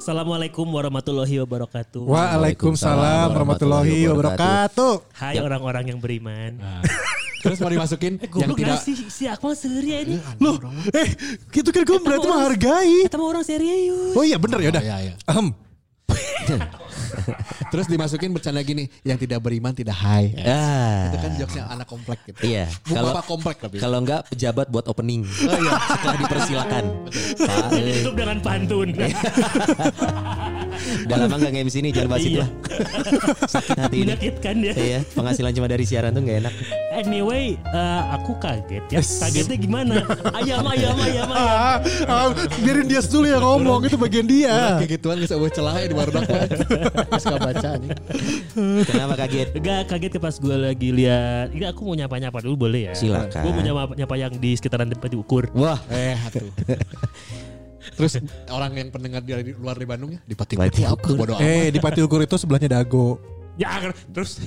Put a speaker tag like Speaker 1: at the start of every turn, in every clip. Speaker 1: Assalamualaikum warahmatullahi wabarakatuh.
Speaker 2: Waalaikumsalam warahmatullahi wabarakatuh.
Speaker 1: Hai
Speaker 3: ya.
Speaker 1: orang-orang yang
Speaker 3: Nah,
Speaker 1: beriman.
Speaker 2: Terus mau dimasukin yang
Speaker 1: Goblok
Speaker 2: tidak
Speaker 1: nggak sih si Akmal seria ini.
Speaker 3: Iya,
Speaker 2: loh, eh gitu kan gue berarti menghargai.
Speaker 1: Ketemu orang serius.
Speaker 2: Oh iya bener ya udah.
Speaker 4: iya, iya.
Speaker 2: Ahem.
Speaker 4: Terus dimasukin bercanda gini, yang tidak beriman tidak hai.
Speaker 3: Ah.
Speaker 4: Itu kan jokes yang anak komplek gitu.
Speaker 3: Iya.
Speaker 4: Bu,
Speaker 3: Kalau-
Speaker 4: Bapak komplek tapi.
Speaker 3: Kalau enggak pejabat buat opening.
Speaker 4: Oh, iya.
Speaker 3: Setelah dipersilakan. Pak,
Speaker 1: Jadi
Speaker 3: eh, Iya,
Speaker 1: tutup dengan pantun.
Speaker 3: udah lama enggak nge-MC nih jangan bahas itu
Speaker 1: Iya.
Speaker 3: lah. Sakit hati ini.
Speaker 1: Menyakitkan dia.
Speaker 3: Iya, penghasilan cuma dari siaran tuh enggak enak.
Speaker 1: Anyway, eh, aku kaget ya. Kagetnya gimana? Ayam, ayam, ayam, ayam.
Speaker 2: Ah, ah, biarin dia dulu yang ngomong itu bagian dia.
Speaker 4: Kayak gituan bisa buat celah ya di barudak lah. Terus gak baca anjing.
Speaker 3: Kenapa kaget?
Speaker 1: Gak kaget ke pas gue lagi lihat. Ini aku mau nyapa-nyapa dulu boleh ya?
Speaker 3: Silakan.
Speaker 1: Gue mau nyapa-nyapa yang di sekitaran tempat diukur.
Speaker 3: Wah,
Speaker 4: Eh, atuh. Terus orang yang pendengar dari luar di Bandung ya, di Pati
Speaker 3: Pati
Speaker 4: Kuku,
Speaker 3: Kuku.
Speaker 4: bodo amat.
Speaker 2: Eh di Pati Ukur itu sebelahnya Dago.
Speaker 1: Ya terus.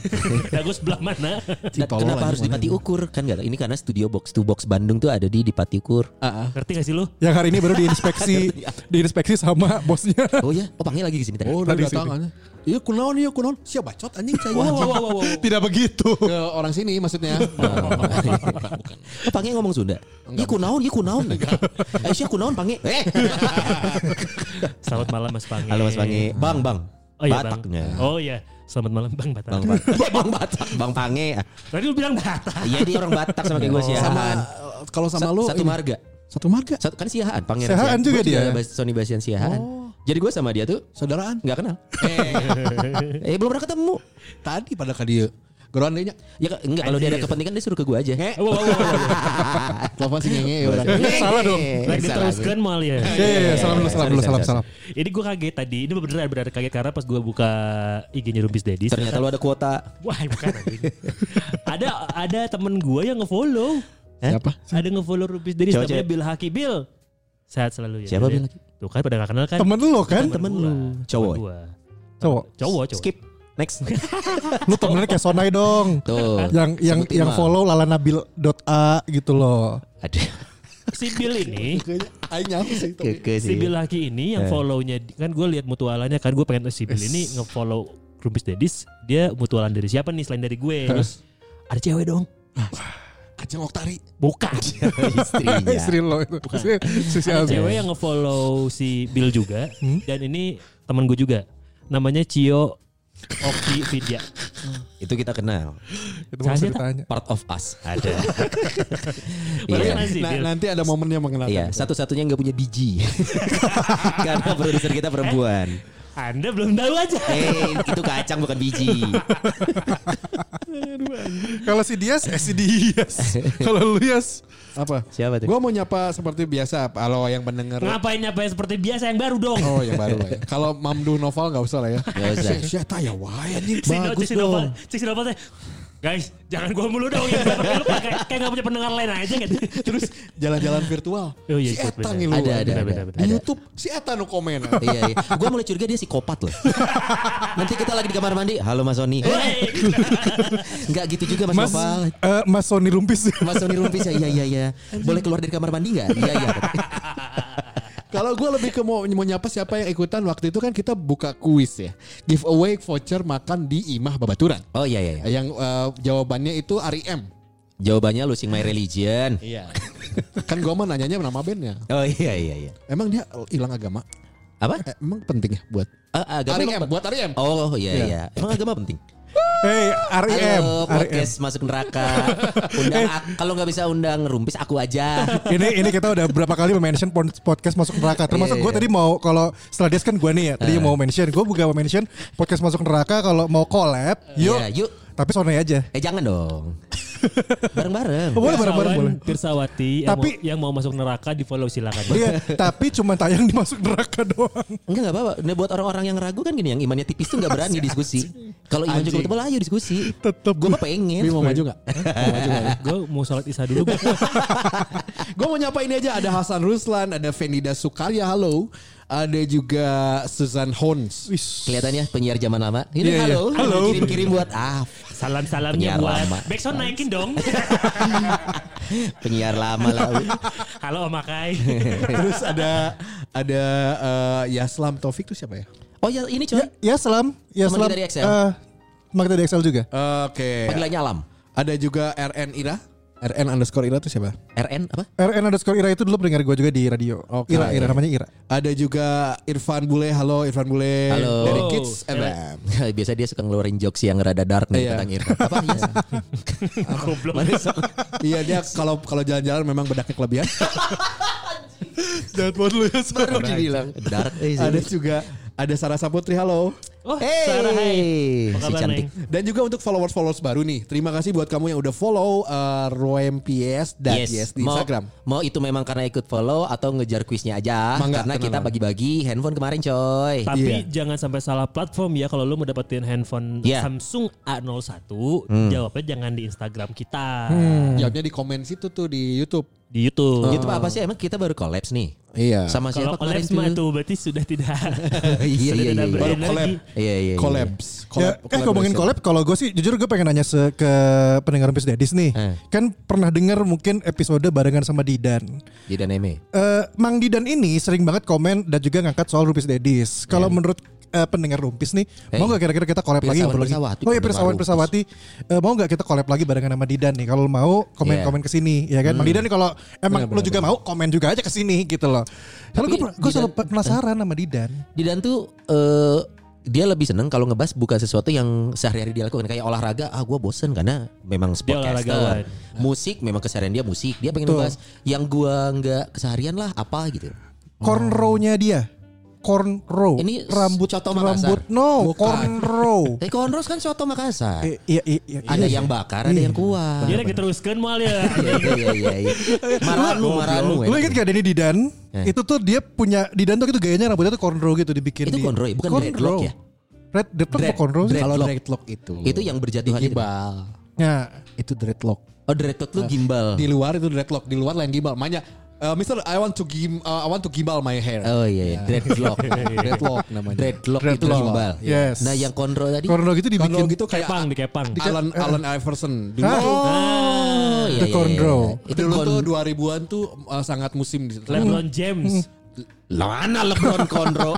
Speaker 1: ya gue sebelah mana?
Speaker 3: Dan
Speaker 4: Tolol
Speaker 3: kenapa
Speaker 4: aja
Speaker 3: harus
Speaker 4: mana
Speaker 3: dipati
Speaker 4: ini?
Speaker 3: ukur kan enggak ini karena studio box to box Bandung tuh ada di dipati ukur.
Speaker 4: Ah, ah.
Speaker 1: Ngerti gak sih lu?
Speaker 2: Yang hari ini baru diinspeksi, diinspeksi sama bosnya.
Speaker 3: Oh ya, oh panggil lagi ke sini tadi.
Speaker 4: Oh, udah
Speaker 2: Tadi
Speaker 4: datang
Speaker 2: sini.
Speaker 4: anjing. Iya kunaon, iya kunaon. Siap bacot anjing saya.
Speaker 2: Tidak begitu.
Speaker 4: Ke orang sini maksudnya. Bukan, bukan.
Speaker 3: Oh, Pange ngomong Sunda. Iya kunaon, iya kunaon. Aisyah kunaon Pange. Eh.
Speaker 1: Selamat malam Mas Pange.
Speaker 3: Halo Mas Pange. Bang, Bang.
Speaker 1: Oh iya, Bang.
Speaker 3: Bataknya.
Speaker 1: Oh iya. Selamat malam Bang Batak.
Speaker 3: Bang Batak. Bang Batak. Bang Pange.
Speaker 1: Tadi lu bilang Batak.
Speaker 3: Iya dia orang Batak sama kayak
Speaker 1: Oh.
Speaker 3: gue sih.
Speaker 4: Sama kalau sama
Speaker 3: Sa-
Speaker 4: lu
Speaker 3: satu
Speaker 4: ini.
Speaker 3: marga.
Speaker 4: Satu marga.
Speaker 3: Satu, kan Siahaan, Pangeran
Speaker 2: Siahaan juga
Speaker 3: Gua
Speaker 2: dia.
Speaker 3: Bas- Sony Bastian Siahaan. Jadi gue sama dia tuh
Speaker 4: Oh. Saudaraan.
Speaker 3: nggak kenal. eh belum pernah ketemu.
Speaker 4: Tadi pada kadieu. Geroan deh Eh, nya. Eh.
Speaker 3: Ya ka- enggak kalau dia ada
Speaker 1: Anjir.
Speaker 3: kepentingan dia suruh ke gue aja.
Speaker 4: Nge.
Speaker 1: Wow, wow, wow.
Speaker 4: Telepon si Nge ya orang.
Speaker 2: Salah dong.
Speaker 3: Eh,
Speaker 1: Lagi diteruskan mal ya.
Speaker 2: Iya iya iya, salam dulu salam dulu salam salam.
Speaker 1: Ini gue kaget tadi. Ini beneran beneran kaget karena pas gue buka IG-nya Rumpis Dedi.
Speaker 3: Ternyata lu ada kuota.
Speaker 1: Wah bukan anjing. ada ada temen gue yang ngefollow.
Speaker 4: Siapa?
Speaker 1: Ada ngefollow Rumpis Dedi.
Speaker 3: Eh, Cewek,
Speaker 1: Namanya
Speaker 3: cewek.
Speaker 1: Bill Haki Bill. Sehat selalu ya.
Speaker 2: Iya.
Speaker 3: Siapa gitu?
Speaker 1: Bill
Speaker 3: Bill
Speaker 1: Haki? Tuh kan pada gak kenal kan.
Speaker 2: Temen lu kan?
Speaker 3: temen
Speaker 1: gua.
Speaker 3: lu. Cowok.
Speaker 1: gua.
Speaker 2: Cowok.
Speaker 1: Cowok cowok.
Speaker 3: Skip. Next.
Speaker 2: Lu temennya kayak Sonai dong.
Speaker 3: Tuh.
Speaker 2: Yang yang
Speaker 3: Sebutin,
Speaker 2: yang
Speaker 3: Bang.
Speaker 2: follow lalanabil.a gitu loh.
Speaker 3: Aduh.
Speaker 1: Si Bill ini
Speaker 4: Kayaknya aing nyapu sih tapi.
Speaker 3: Keke
Speaker 1: si
Speaker 3: sih.
Speaker 1: Bill Haki ini
Speaker 4: Eh.
Speaker 1: yang follow-nya kan gue lihat mutualannya kan gue pengen eh, si Bill ini ngefollow Rumpis Dedis dia mutualan dari siapa nih selain dari gue terus ada cewek dong
Speaker 4: Ajeng Oktari.
Speaker 1: bukan
Speaker 3: Istrinya.
Speaker 2: Istri lo Eh, itu. Si si
Speaker 1: ada
Speaker 2: Abi.
Speaker 1: cewek yang ngefollow si Bill juga
Speaker 4: Hmm?
Speaker 1: dan ini teman gue juga namanya Cio Oki Vidya
Speaker 3: Itu kita kenal.
Speaker 2: Itu mau
Speaker 1: Saya
Speaker 2: ditanya.
Speaker 3: Part of us. Ada.
Speaker 1: Baru
Speaker 3: Iya.
Speaker 1: kenal si
Speaker 4: Na-
Speaker 1: Bill.
Speaker 4: nanti ada momennya mengenalkan.
Speaker 3: Iya, satu-satunya nggak punya biji. Karena produser kita perempuan.
Speaker 1: anda belum tahu aja
Speaker 3: Eh, itu kacang bukan biji.
Speaker 2: Kalau si Dias, eh si Dias. Kalau lu Yas,
Speaker 4: Apa?
Speaker 3: Siapa tuh?
Speaker 4: Gua mau nyapa seperti biasa. Kalau yang pendengar
Speaker 1: ngapain ngapain seperti biasa yang baru dong
Speaker 4: Oh yang baru lah ya. Kalau Mamdu Noval gak usah lah ya.
Speaker 3: Nggak usah.
Speaker 4: Si- Siapa ya wah anjing.
Speaker 1: Si Sino-
Speaker 4: Bagus
Speaker 1: si Sino-
Speaker 4: dong.
Speaker 1: si Sino- teh, Guys, jangan gua mulu dong ya. Kayak lu pakai- kayak gak punya pendengar lain aja gitu. Terus
Speaker 4: Jalan-jalan virtual.
Speaker 1: Oh, iya,
Speaker 4: si
Speaker 1: ikut,
Speaker 4: Eta
Speaker 1: benar.
Speaker 4: ngilu.
Speaker 3: Ada, ada,
Speaker 1: Benar,
Speaker 3: ada.
Speaker 1: benar, benar.
Speaker 4: Di
Speaker 3: Ada.
Speaker 4: Youtube si Eta nu komen.
Speaker 3: iya, iya. Gue mulai curiga dia psikopat loh. Nanti kita lagi di kamar mandi. Halo Mas Sony.
Speaker 1: Wey.
Speaker 3: Enggak gitu juga
Speaker 2: Eh.
Speaker 3: Mas,
Speaker 2: Mas,
Speaker 3: Nopal.
Speaker 2: eh, Mas Sony Rumpis.
Speaker 3: Mas Sony rumpis ya. Iya, iya, iya. Boleh keluar dari kamar mandi nggak? Iya, iya.
Speaker 4: Kalau gue lebih ke mau, mau nyapa siapa yang ikutan waktu itu kan kita buka kuis ya. Giveaway voucher makan di Imah Babaturan.
Speaker 3: Oh iya, iya. iya.
Speaker 4: Yang eh, jawabannya itu Ari M.
Speaker 3: Jawabannya losing my religion.
Speaker 4: Iya. kan gue mah nanyanya nama bandnya.
Speaker 3: Oh iya, iya, iya.
Speaker 4: Emang dia hilang agama?
Speaker 3: Apa?
Speaker 4: Eh, emang penting ya buat
Speaker 3: Eh, agama
Speaker 4: Ari
Speaker 3: emang
Speaker 4: E M? Buat Ari M?
Speaker 3: Oh iya, iya. Emang agama penting?
Speaker 2: Hey, E REM.
Speaker 3: Halo,
Speaker 2: REM.
Speaker 3: podcast masuk neraka. Undang ak- kalau nggak bisa undang rumpis aku aja.
Speaker 2: Ini ini kita udah berapa kali mention pon- podcast masuk neraka. Termasuk
Speaker 3: Iya,
Speaker 2: gue
Speaker 3: iya. Eh.
Speaker 2: tadi mau kalau setelah Dias kan gue nih ya, tadi mau mention. Gue buka mau mention podcast masuk neraka kalau mau collab. Yuk.
Speaker 3: Iya, yuk.
Speaker 2: Tapi Sony aja.
Speaker 3: Eh jangan dong. Bareng-bareng.
Speaker 2: Boleh bareng-bareng
Speaker 1: Kawan
Speaker 2: boleh.
Speaker 1: Pirsawati
Speaker 2: Tapi-
Speaker 1: yang, mau, yang mau masuk neraka di follow silakan.
Speaker 2: Iya, tapi cuma tayang di masuk neraka doang.
Speaker 3: Enggak enggak apa-apa. Nah, buat orang-orang yang ragu kan gini yang imannya tipis tuh enggak berani diskusi. Kalau iman cukup tebal ayo diskusi.
Speaker 2: Tetep.
Speaker 3: Gue mah pengen.
Speaker 4: Bi mau maju nggak? Mau maju nggak?
Speaker 1: Gue mau sholat isya dulu. gua.
Speaker 4: Gue mau nyapa ini aja ada Hasan Ruslan, ada Venida Sukarya, halo. Ada juga Susan Hons.
Speaker 2: Wis.
Speaker 3: Kelihatannya penyiar zaman lama. Ini
Speaker 2: Iya, iya.
Speaker 3: halo.
Speaker 2: Halo.
Speaker 3: Kirim-kirim buat ah
Speaker 1: Salam-salamnya
Speaker 3: Penyiar
Speaker 1: buat
Speaker 3: lama.
Speaker 1: Backsound naikin dong.
Speaker 3: penyiar lama lah.
Speaker 1: Halo Om Akai.
Speaker 4: Terus ada ada eh, Yaslam Taufik tuh siapa ya?
Speaker 3: Oh ya ini coy.
Speaker 2: Ya, ya selam, ya
Speaker 3: Teman
Speaker 2: selam.
Speaker 3: kita dari XL.
Speaker 2: Eh, teman kita dari XL juga.
Speaker 4: Oke.
Speaker 3: Panggilannya alam.
Speaker 4: Ada juga RN Ira. RN underscore Ira tuh siapa?
Speaker 3: RN apa?
Speaker 2: RN underscore Ira itu dulu pendengar gue juga di radio.
Speaker 4: Oke.
Speaker 2: Ira, Ira namanya Ira.
Speaker 4: Ada juga Irfan Bule, halo Irfan Bule
Speaker 3: Halo.
Speaker 4: dari
Speaker 1: Wow.
Speaker 4: Kids FM.
Speaker 3: Biasa dia suka ngeluarin jokes yang rada dark nih
Speaker 4: Iya.
Speaker 3: tentang Irfan. Apa ya?
Speaker 1: Goblok.
Speaker 4: iya dia kalau kalau jalan-jalan memang bedaknya kelebihan.
Speaker 2: Jangan buat lu ya.
Speaker 3: Baru dibilang dark. Eh,
Speaker 4: ada juga ada Sarah Saputri, halo.
Speaker 1: Oh,
Speaker 3: Hey,
Speaker 1: Sarah hai. Apa
Speaker 3: si
Speaker 1: kabar,
Speaker 3: cantik.
Speaker 1: Neng?
Speaker 4: Dan juga untuk followers-followers baru nih. Terima kasih buat kamu yang udah follow uh, RoemPS dan yes. di
Speaker 3: mau,
Speaker 4: Instagram.
Speaker 3: Mau itu memang karena ikut follow atau ngejar kuisnya aja.
Speaker 4: Mangga,
Speaker 3: karena
Speaker 4: tenang,
Speaker 3: kita
Speaker 4: Bang.
Speaker 3: bagi-bagi handphone kemarin coy.
Speaker 1: Tapi jangan sampai salah platform ya kalau lu mau dapetin handphone
Speaker 3: Iya. Hmm.
Speaker 1: Samsung A01, jawabnya jangan di Instagram kita.
Speaker 2: Hmm.
Speaker 4: Jawabnya di komen situ tuh di YouTube.
Speaker 1: Di YouTube.
Speaker 3: Itu Gitu, apa sih emang kita baru collabs nih.
Speaker 4: Iya.
Speaker 3: Sama
Speaker 1: Kalau
Speaker 3: Oh, siapa
Speaker 1: kemarin
Speaker 3: kemarin
Speaker 1: mah
Speaker 3: tuh?
Speaker 1: tuh berarti sudah tidak
Speaker 3: Iya, iya,
Speaker 1: sudah tidak
Speaker 3: iya.
Speaker 4: Baru
Speaker 1: berenergi.
Speaker 4: collab.
Speaker 3: Iya iya. iya.
Speaker 4: Collabs.
Speaker 2: Ya, eh ngomongin collab, kalau gue sih jujur gue pengen nanya se- ke pendengar Rumpis Dadis nih.
Speaker 3: Eh.
Speaker 2: Kan pernah dengar mungkin episode barengan sama Didan.
Speaker 3: Di Daneme.
Speaker 2: Eh, Mang Didan ini sering banget komen dan juga ngangkat soal Rumpis Dedis. Kalau menurut eh, pendengar Rumpis nih,
Speaker 3: Hey.
Speaker 2: mau nggak kira-kira kita collab lagi?
Speaker 3: Pirsawan
Speaker 2: ngobrol lagi?
Speaker 3: Pirsawati,
Speaker 2: Oh iya
Speaker 3: pendengar
Speaker 2: Pirsawan
Speaker 3: Rumpis.
Speaker 2: Persawati, Eh, mau nggak kita collab lagi barengan sama Didan nih? Kalau mau komen-komen ke sini, ya kan? Mang Didan nih kalau emang lu juga mau komen juga aja ke sini gitu loh. Kalau gue gue
Speaker 3: Didan-
Speaker 2: selalu penasaran sama Didan.
Speaker 3: Didan tuh eh, dia lebih seneng kalau ngebahas bukan sesuatu yang sehari-hari dia lakukan kayak olahraga ah gue bosen karena
Speaker 1: olahragawan.
Speaker 3: memang sportcaster musik memang keseharian dia musik dia pengen
Speaker 2: Betul.
Speaker 3: ngebahas yang gue nggak keseharian lah apa gitu
Speaker 4: Oh.
Speaker 2: Cornrow-nya dia. Cornrow.
Speaker 3: Ini
Speaker 2: rambut
Speaker 3: soto Makassar.
Speaker 2: rambut no,
Speaker 4: Bukan.
Speaker 2: cornrow.
Speaker 3: eh Konros kan soto Makassar
Speaker 2: Eh, iya, iya, iya,
Speaker 3: ada
Speaker 2: iya.
Speaker 3: yang bakar ada
Speaker 2: Iya.
Speaker 3: yang kuah
Speaker 1: Dia lagi teruskan mal ya.
Speaker 3: Iya, iya, iya, iya. maranu maranu
Speaker 2: Lu inget gak Denny Didan?
Speaker 3: Eh.
Speaker 2: Itu tuh dia punya Didan tuh gitu gayanya rambutnya tuh cornrow gitu dibikin
Speaker 3: Itu
Speaker 2: dia.
Speaker 3: cornrow ya, bukan dreadlock ya?
Speaker 2: Red dreadlock
Speaker 3: Dread-
Speaker 2: apa cornrow sih?
Speaker 3: dread-
Speaker 4: Kalau
Speaker 3: dreadlock.
Speaker 4: dreadlock itu.
Speaker 3: itu yang berjatuhan itu.
Speaker 4: gimbal.
Speaker 2: Ya.
Speaker 4: Itu dreadlock.
Speaker 3: oh dreadlock lu gimbal
Speaker 4: Di luar itu dreadlock, di luar lain gimbal. Makanya eh, Mister I want to gim eh, I want to gimbal my hair.
Speaker 3: oh iya, iya. dreadlock
Speaker 4: dreadlock namanya.
Speaker 3: dreadlock itu
Speaker 2: Dreadlock.
Speaker 3: gimbal
Speaker 2: Yes.
Speaker 3: nah yang konro tadi
Speaker 2: Cornrow gitu dibikin. Eh.
Speaker 4: Kalau gitu kayak
Speaker 1: Kepang di kepang.
Speaker 4: Alan Alan Iverson dulu
Speaker 2: Hah?
Speaker 4: tuh-
Speaker 1: Ah,
Speaker 3: Oh,
Speaker 2: The cornrow.
Speaker 3: Itu
Speaker 4: dulu
Speaker 3: kon
Speaker 4: tuh 2000-an tuh eh, sangat musim di
Speaker 1: LeBron James.
Speaker 3: Lana Lebron Conro.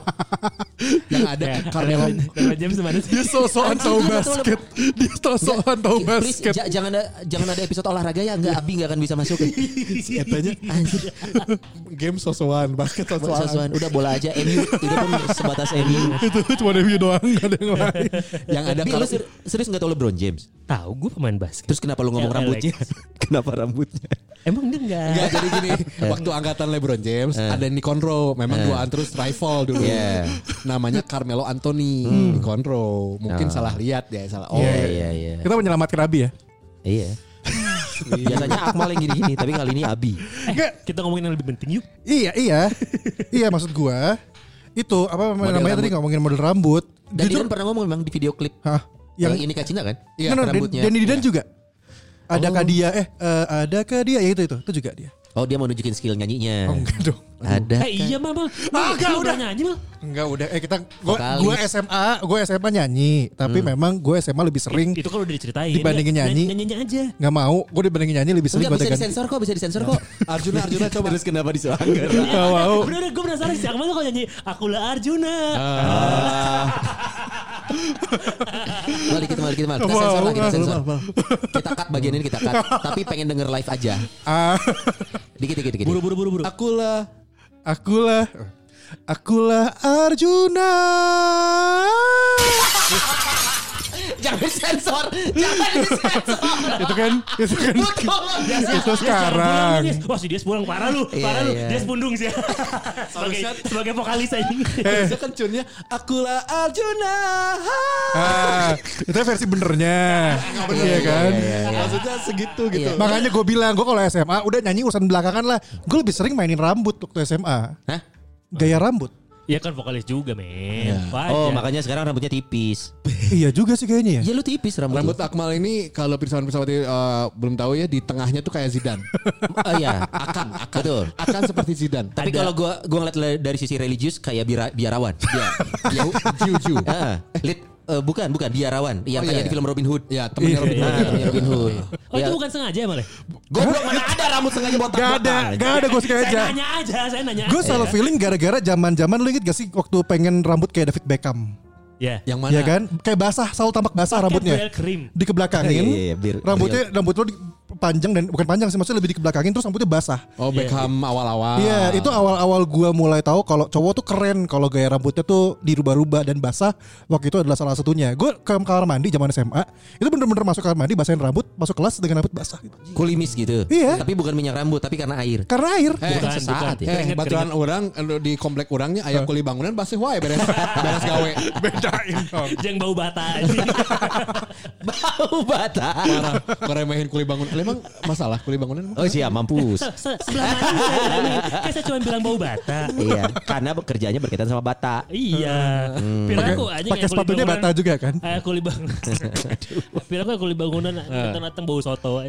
Speaker 4: yang
Speaker 1: Ya,
Speaker 4: ada Carmelo
Speaker 1: LeBron- LeBron James mana sih?
Speaker 2: sosokan
Speaker 3: tahu basket.
Speaker 2: Dia sosokan tahu
Speaker 3: Please, ja- jangan ada jangan ada episode olahraga ya enggak Abi enggak akan bisa masuk.
Speaker 4: katanya game sosokan basket sosokan
Speaker 3: Sosuan udah bola aja MU itu pun sebatas Iya. MU.
Speaker 2: Itu cuma Dewi doang, gak ada yang lain.
Speaker 4: yang ada
Speaker 3: Bi,
Speaker 4: kalau
Speaker 3: lu ser- serius enggak tahu LeBron James?
Speaker 1: Tahu gue pemain basket.
Speaker 3: Terus kenapa lu ngomong
Speaker 1: Ya,
Speaker 3: rambutnya? kenapa rambutnya?
Speaker 1: Emang dia enggak.
Speaker 4: Enggak jadi gini
Speaker 3: Eh.
Speaker 4: Waktu angkatan Lebron James Ada Nikon Rowe Memang duaan terus rival dulu
Speaker 3: Iya. Hmm.
Speaker 4: Namanya Carmelo Anthony Nikon Rowe Mungkin salah lihat ya salah.
Speaker 3: Oh.
Speaker 4: Oh
Speaker 3: Iya iya iya.
Speaker 2: Kita menyelamatkan Abi ya.
Speaker 3: Iya. Biasanya Akmal yang gini-gini, tapi kali ini Abi.
Speaker 2: Enggak,
Speaker 1: Kita ngomongin yang lebih penting yuk.
Speaker 2: iya iya. iya maksud gua itu apa namanya tadi ngomongin model rambut.
Speaker 3: Dan dia
Speaker 2: Jujur,
Speaker 3: kan pernah ngomong memang di video klip
Speaker 2: Hah?
Speaker 3: yang
Speaker 2: Yang
Speaker 3: ini Kak Cina kan?
Speaker 2: Iya, no, no,
Speaker 3: rambutnya.
Speaker 2: Dan Didan juga. Adakah dia eh eh, adakah dia ya itu itu itu juga dia.
Speaker 3: Oh, dia mau nunjukin skill nyanyinya.
Speaker 2: Oh, enggak dong.
Speaker 3: Ada.
Speaker 1: Eh iya mama.
Speaker 2: Ah, enggak,
Speaker 1: Lu
Speaker 2: udah.
Speaker 1: udah nyanyi mal.
Speaker 2: Enggak udah eh kita gua,
Speaker 3: Vokalis.
Speaker 2: gua SMA, gua SMA nyanyi, tapi memang gua SMA lebih sering
Speaker 1: Itu kan udah diceritain.
Speaker 2: Dibandingin
Speaker 1: Ya,
Speaker 2: nyanyi.
Speaker 1: Nyanyinya aja.
Speaker 2: nggak mau, gua dibandingin nyanyi lebih sering gua
Speaker 3: Enggak bisa
Speaker 2: tekan.
Speaker 3: disensor kok, bisa disensor kok.
Speaker 4: Arjuna Arjuna coba
Speaker 3: Terus kenapa diselanggar?
Speaker 2: Nggak mau.
Speaker 1: Eh, Udah udah gue penasaran sih Akmal tuh kalau nyanyi Akulah Arjuna. Ah,
Speaker 3: Mal dikit, mal dikit, mal. Kita
Speaker 2: Wow,
Speaker 3: sensor lah, kita
Speaker 2: wow,
Speaker 3: sensor.
Speaker 2: wow, wow.
Speaker 3: Kita cut bagian ini kita cut. Tapi pengen denger live aja.
Speaker 2: Ah,
Speaker 3: Dikit, dikit, dikit.
Speaker 1: Buru buru buru buru.
Speaker 4: Akulah
Speaker 2: akulah Akulah Arjuna.
Speaker 3: jangan disensor, jangan disensor.
Speaker 2: itu kan itu kan
Speaker 3: Lu tolong jangan.
Speaker 2: itu
Speaker 1: Pulang,
Speaker 2: sekarang
Speaker 1: Dias. Wah si Dias pulang parah lu,
Speaker 3: Iya,
Speaker 1: parah lu.
Speaker 3: iya.
Speaker 1: Dias pundung sih. sebagai sebagai vokalis aja.
Speaker 4: Bisa kan cunnya akulah Arjuna.
Speaker 2: ah, itu versi benernya iya kan
Speaker 4: Maksudnya segitu gitu.
Speaker 3: Iya.
Speaker 2: makanya gue bilang gue kalau SMA udah nyanyi urusan belakangan lah gue lebih sering mainin rambut waktu SMA
Speaker 3: Hah?
Speaker 2: gaya rambut
Speaker 1: Iya kan vokalis juga men.
Speaker 3: Oh, makanya sekarang rambutnya tipis.
Speaker 2: iya juga sih kayaknya ya
Speaker 3: Iya lu tipis rambut.
Speaker 4: Rambut
Speaker 3: lu.
Speaker 4: Akmal ini kalau pesawat-pesawat belum tahu ya di tengahnya tuh kayak Zidane.
Speaker 3: Oh iya, akan, akan. Betul.
Speaker 4: Akan seperti Zidane.
Speaker 3: Tapi
Speaker 1: Ada.
Speaker 3: kalau gua gua ngeliat le- dari sisi religius kayak biara- biarawan. Dia, dia,
Speaker 4: Juju.
Speaker 3: Heeh. Lid- eh, bukan, bukan biarawan. Yang
Speaker 4: Oh, iya,
Speaker 3: kayak di
Speaker 4: iya.
Speaker 3: film Robin Hood.
Speaker 4: Ya temennya Robin
Speaker 3: Nah,
Speaker 4: Hood.
Speaker 3: temennya Robin Hood.
Speaker 1: Oh
Speaker 3: Ya,
Speaker 1: itu bukan sengaja malah.
Speaker 3: Goblok mana ada rambut sengaja botak.
Speaker 2: Gak ada, gak ada
Speaker 1: Eh,
Speaker 2: gue
Speaker 1: Saya
Speaker 2: sengaja.
Speaker 1: nanya aja, saya nanya. Iya.
Speaker 2: Gue
Speaker 1: aja.
Speaker 3: Iya.
Speaker 2: salah feeling gara-gara zaman-zaman lu inget gak sih waktu pengen rambut kayak David Beckham?
Speaker 1: Ya.
Speaker 4: Yang mana?
Speaker 2: Iya kan? Kayak basah, selalu tampak basah rambutnya.
Speaker 1: Kayak krim.
Speaker 2: Dikebelakangin.
Speaker 3: Iya, iya, iya, bir-
Speaker 2: rambutnya rambut lu di- panjang dan bukan panjang sih maksudnya lebih dikebelakangin terus rambutnya basah.
Speaker 4: Oh
Speaker 3: Iya,
Speaker 4: Beckham awal-awal.
Speaker 2: Iya, itu awal-awal gua mulai tahu kalau cowok tuh keren kalau gaya rambutnya tuh dirubah-rubah dan basah. Waktu itu adalah salah satunya. Gue ke kamar mandi zaman SMA, itu bener-bener masuk kamar mandi basahin rambut, masuk kelas dengan rambut basah gitu.
Speaker 3: Kulimis gitu.
Speaker 2: Iya.
Speaker 3: Tapi bukan minyak rambut, tapi karena air.
Speaker 2: Karena air.
Speaker 4: Eh,
Speaker 3: Bukan sesaat ya.
Speaker 4: Eh,
Speaker 1: Keringet,
Speaker 4: baturan orang eh, di komplek orangnya ayah kuli bangunan pasti wae beres beres gawe.
Speaker 2: Bedain dong.
Speaker 1: keringet. Jangan bau bata.
Speaker 3: Bau bata.
Speaker 4: Parah, ngeremehin kuli bangunan. Lah, Emang masalah kuli bangunan? emang?
Speaker 3: Oh siap, mampus.
Speaker 1: Se- Sebelah mana lu saya bilangin? Kayak saya cuma bilang bau bata.
Speaker 3: iya, karena kerjanya berkaitan sama bata.
Speaker 1: Iya.
Speaker 2: Pakai-
Speaker 1: Piraku aja
Speaker 2: Pakai sepatunya bata juga kan?
Speaker 1: Eh kulit bangunan. Piraku kayak kulit bangunan datang-datang bau soto.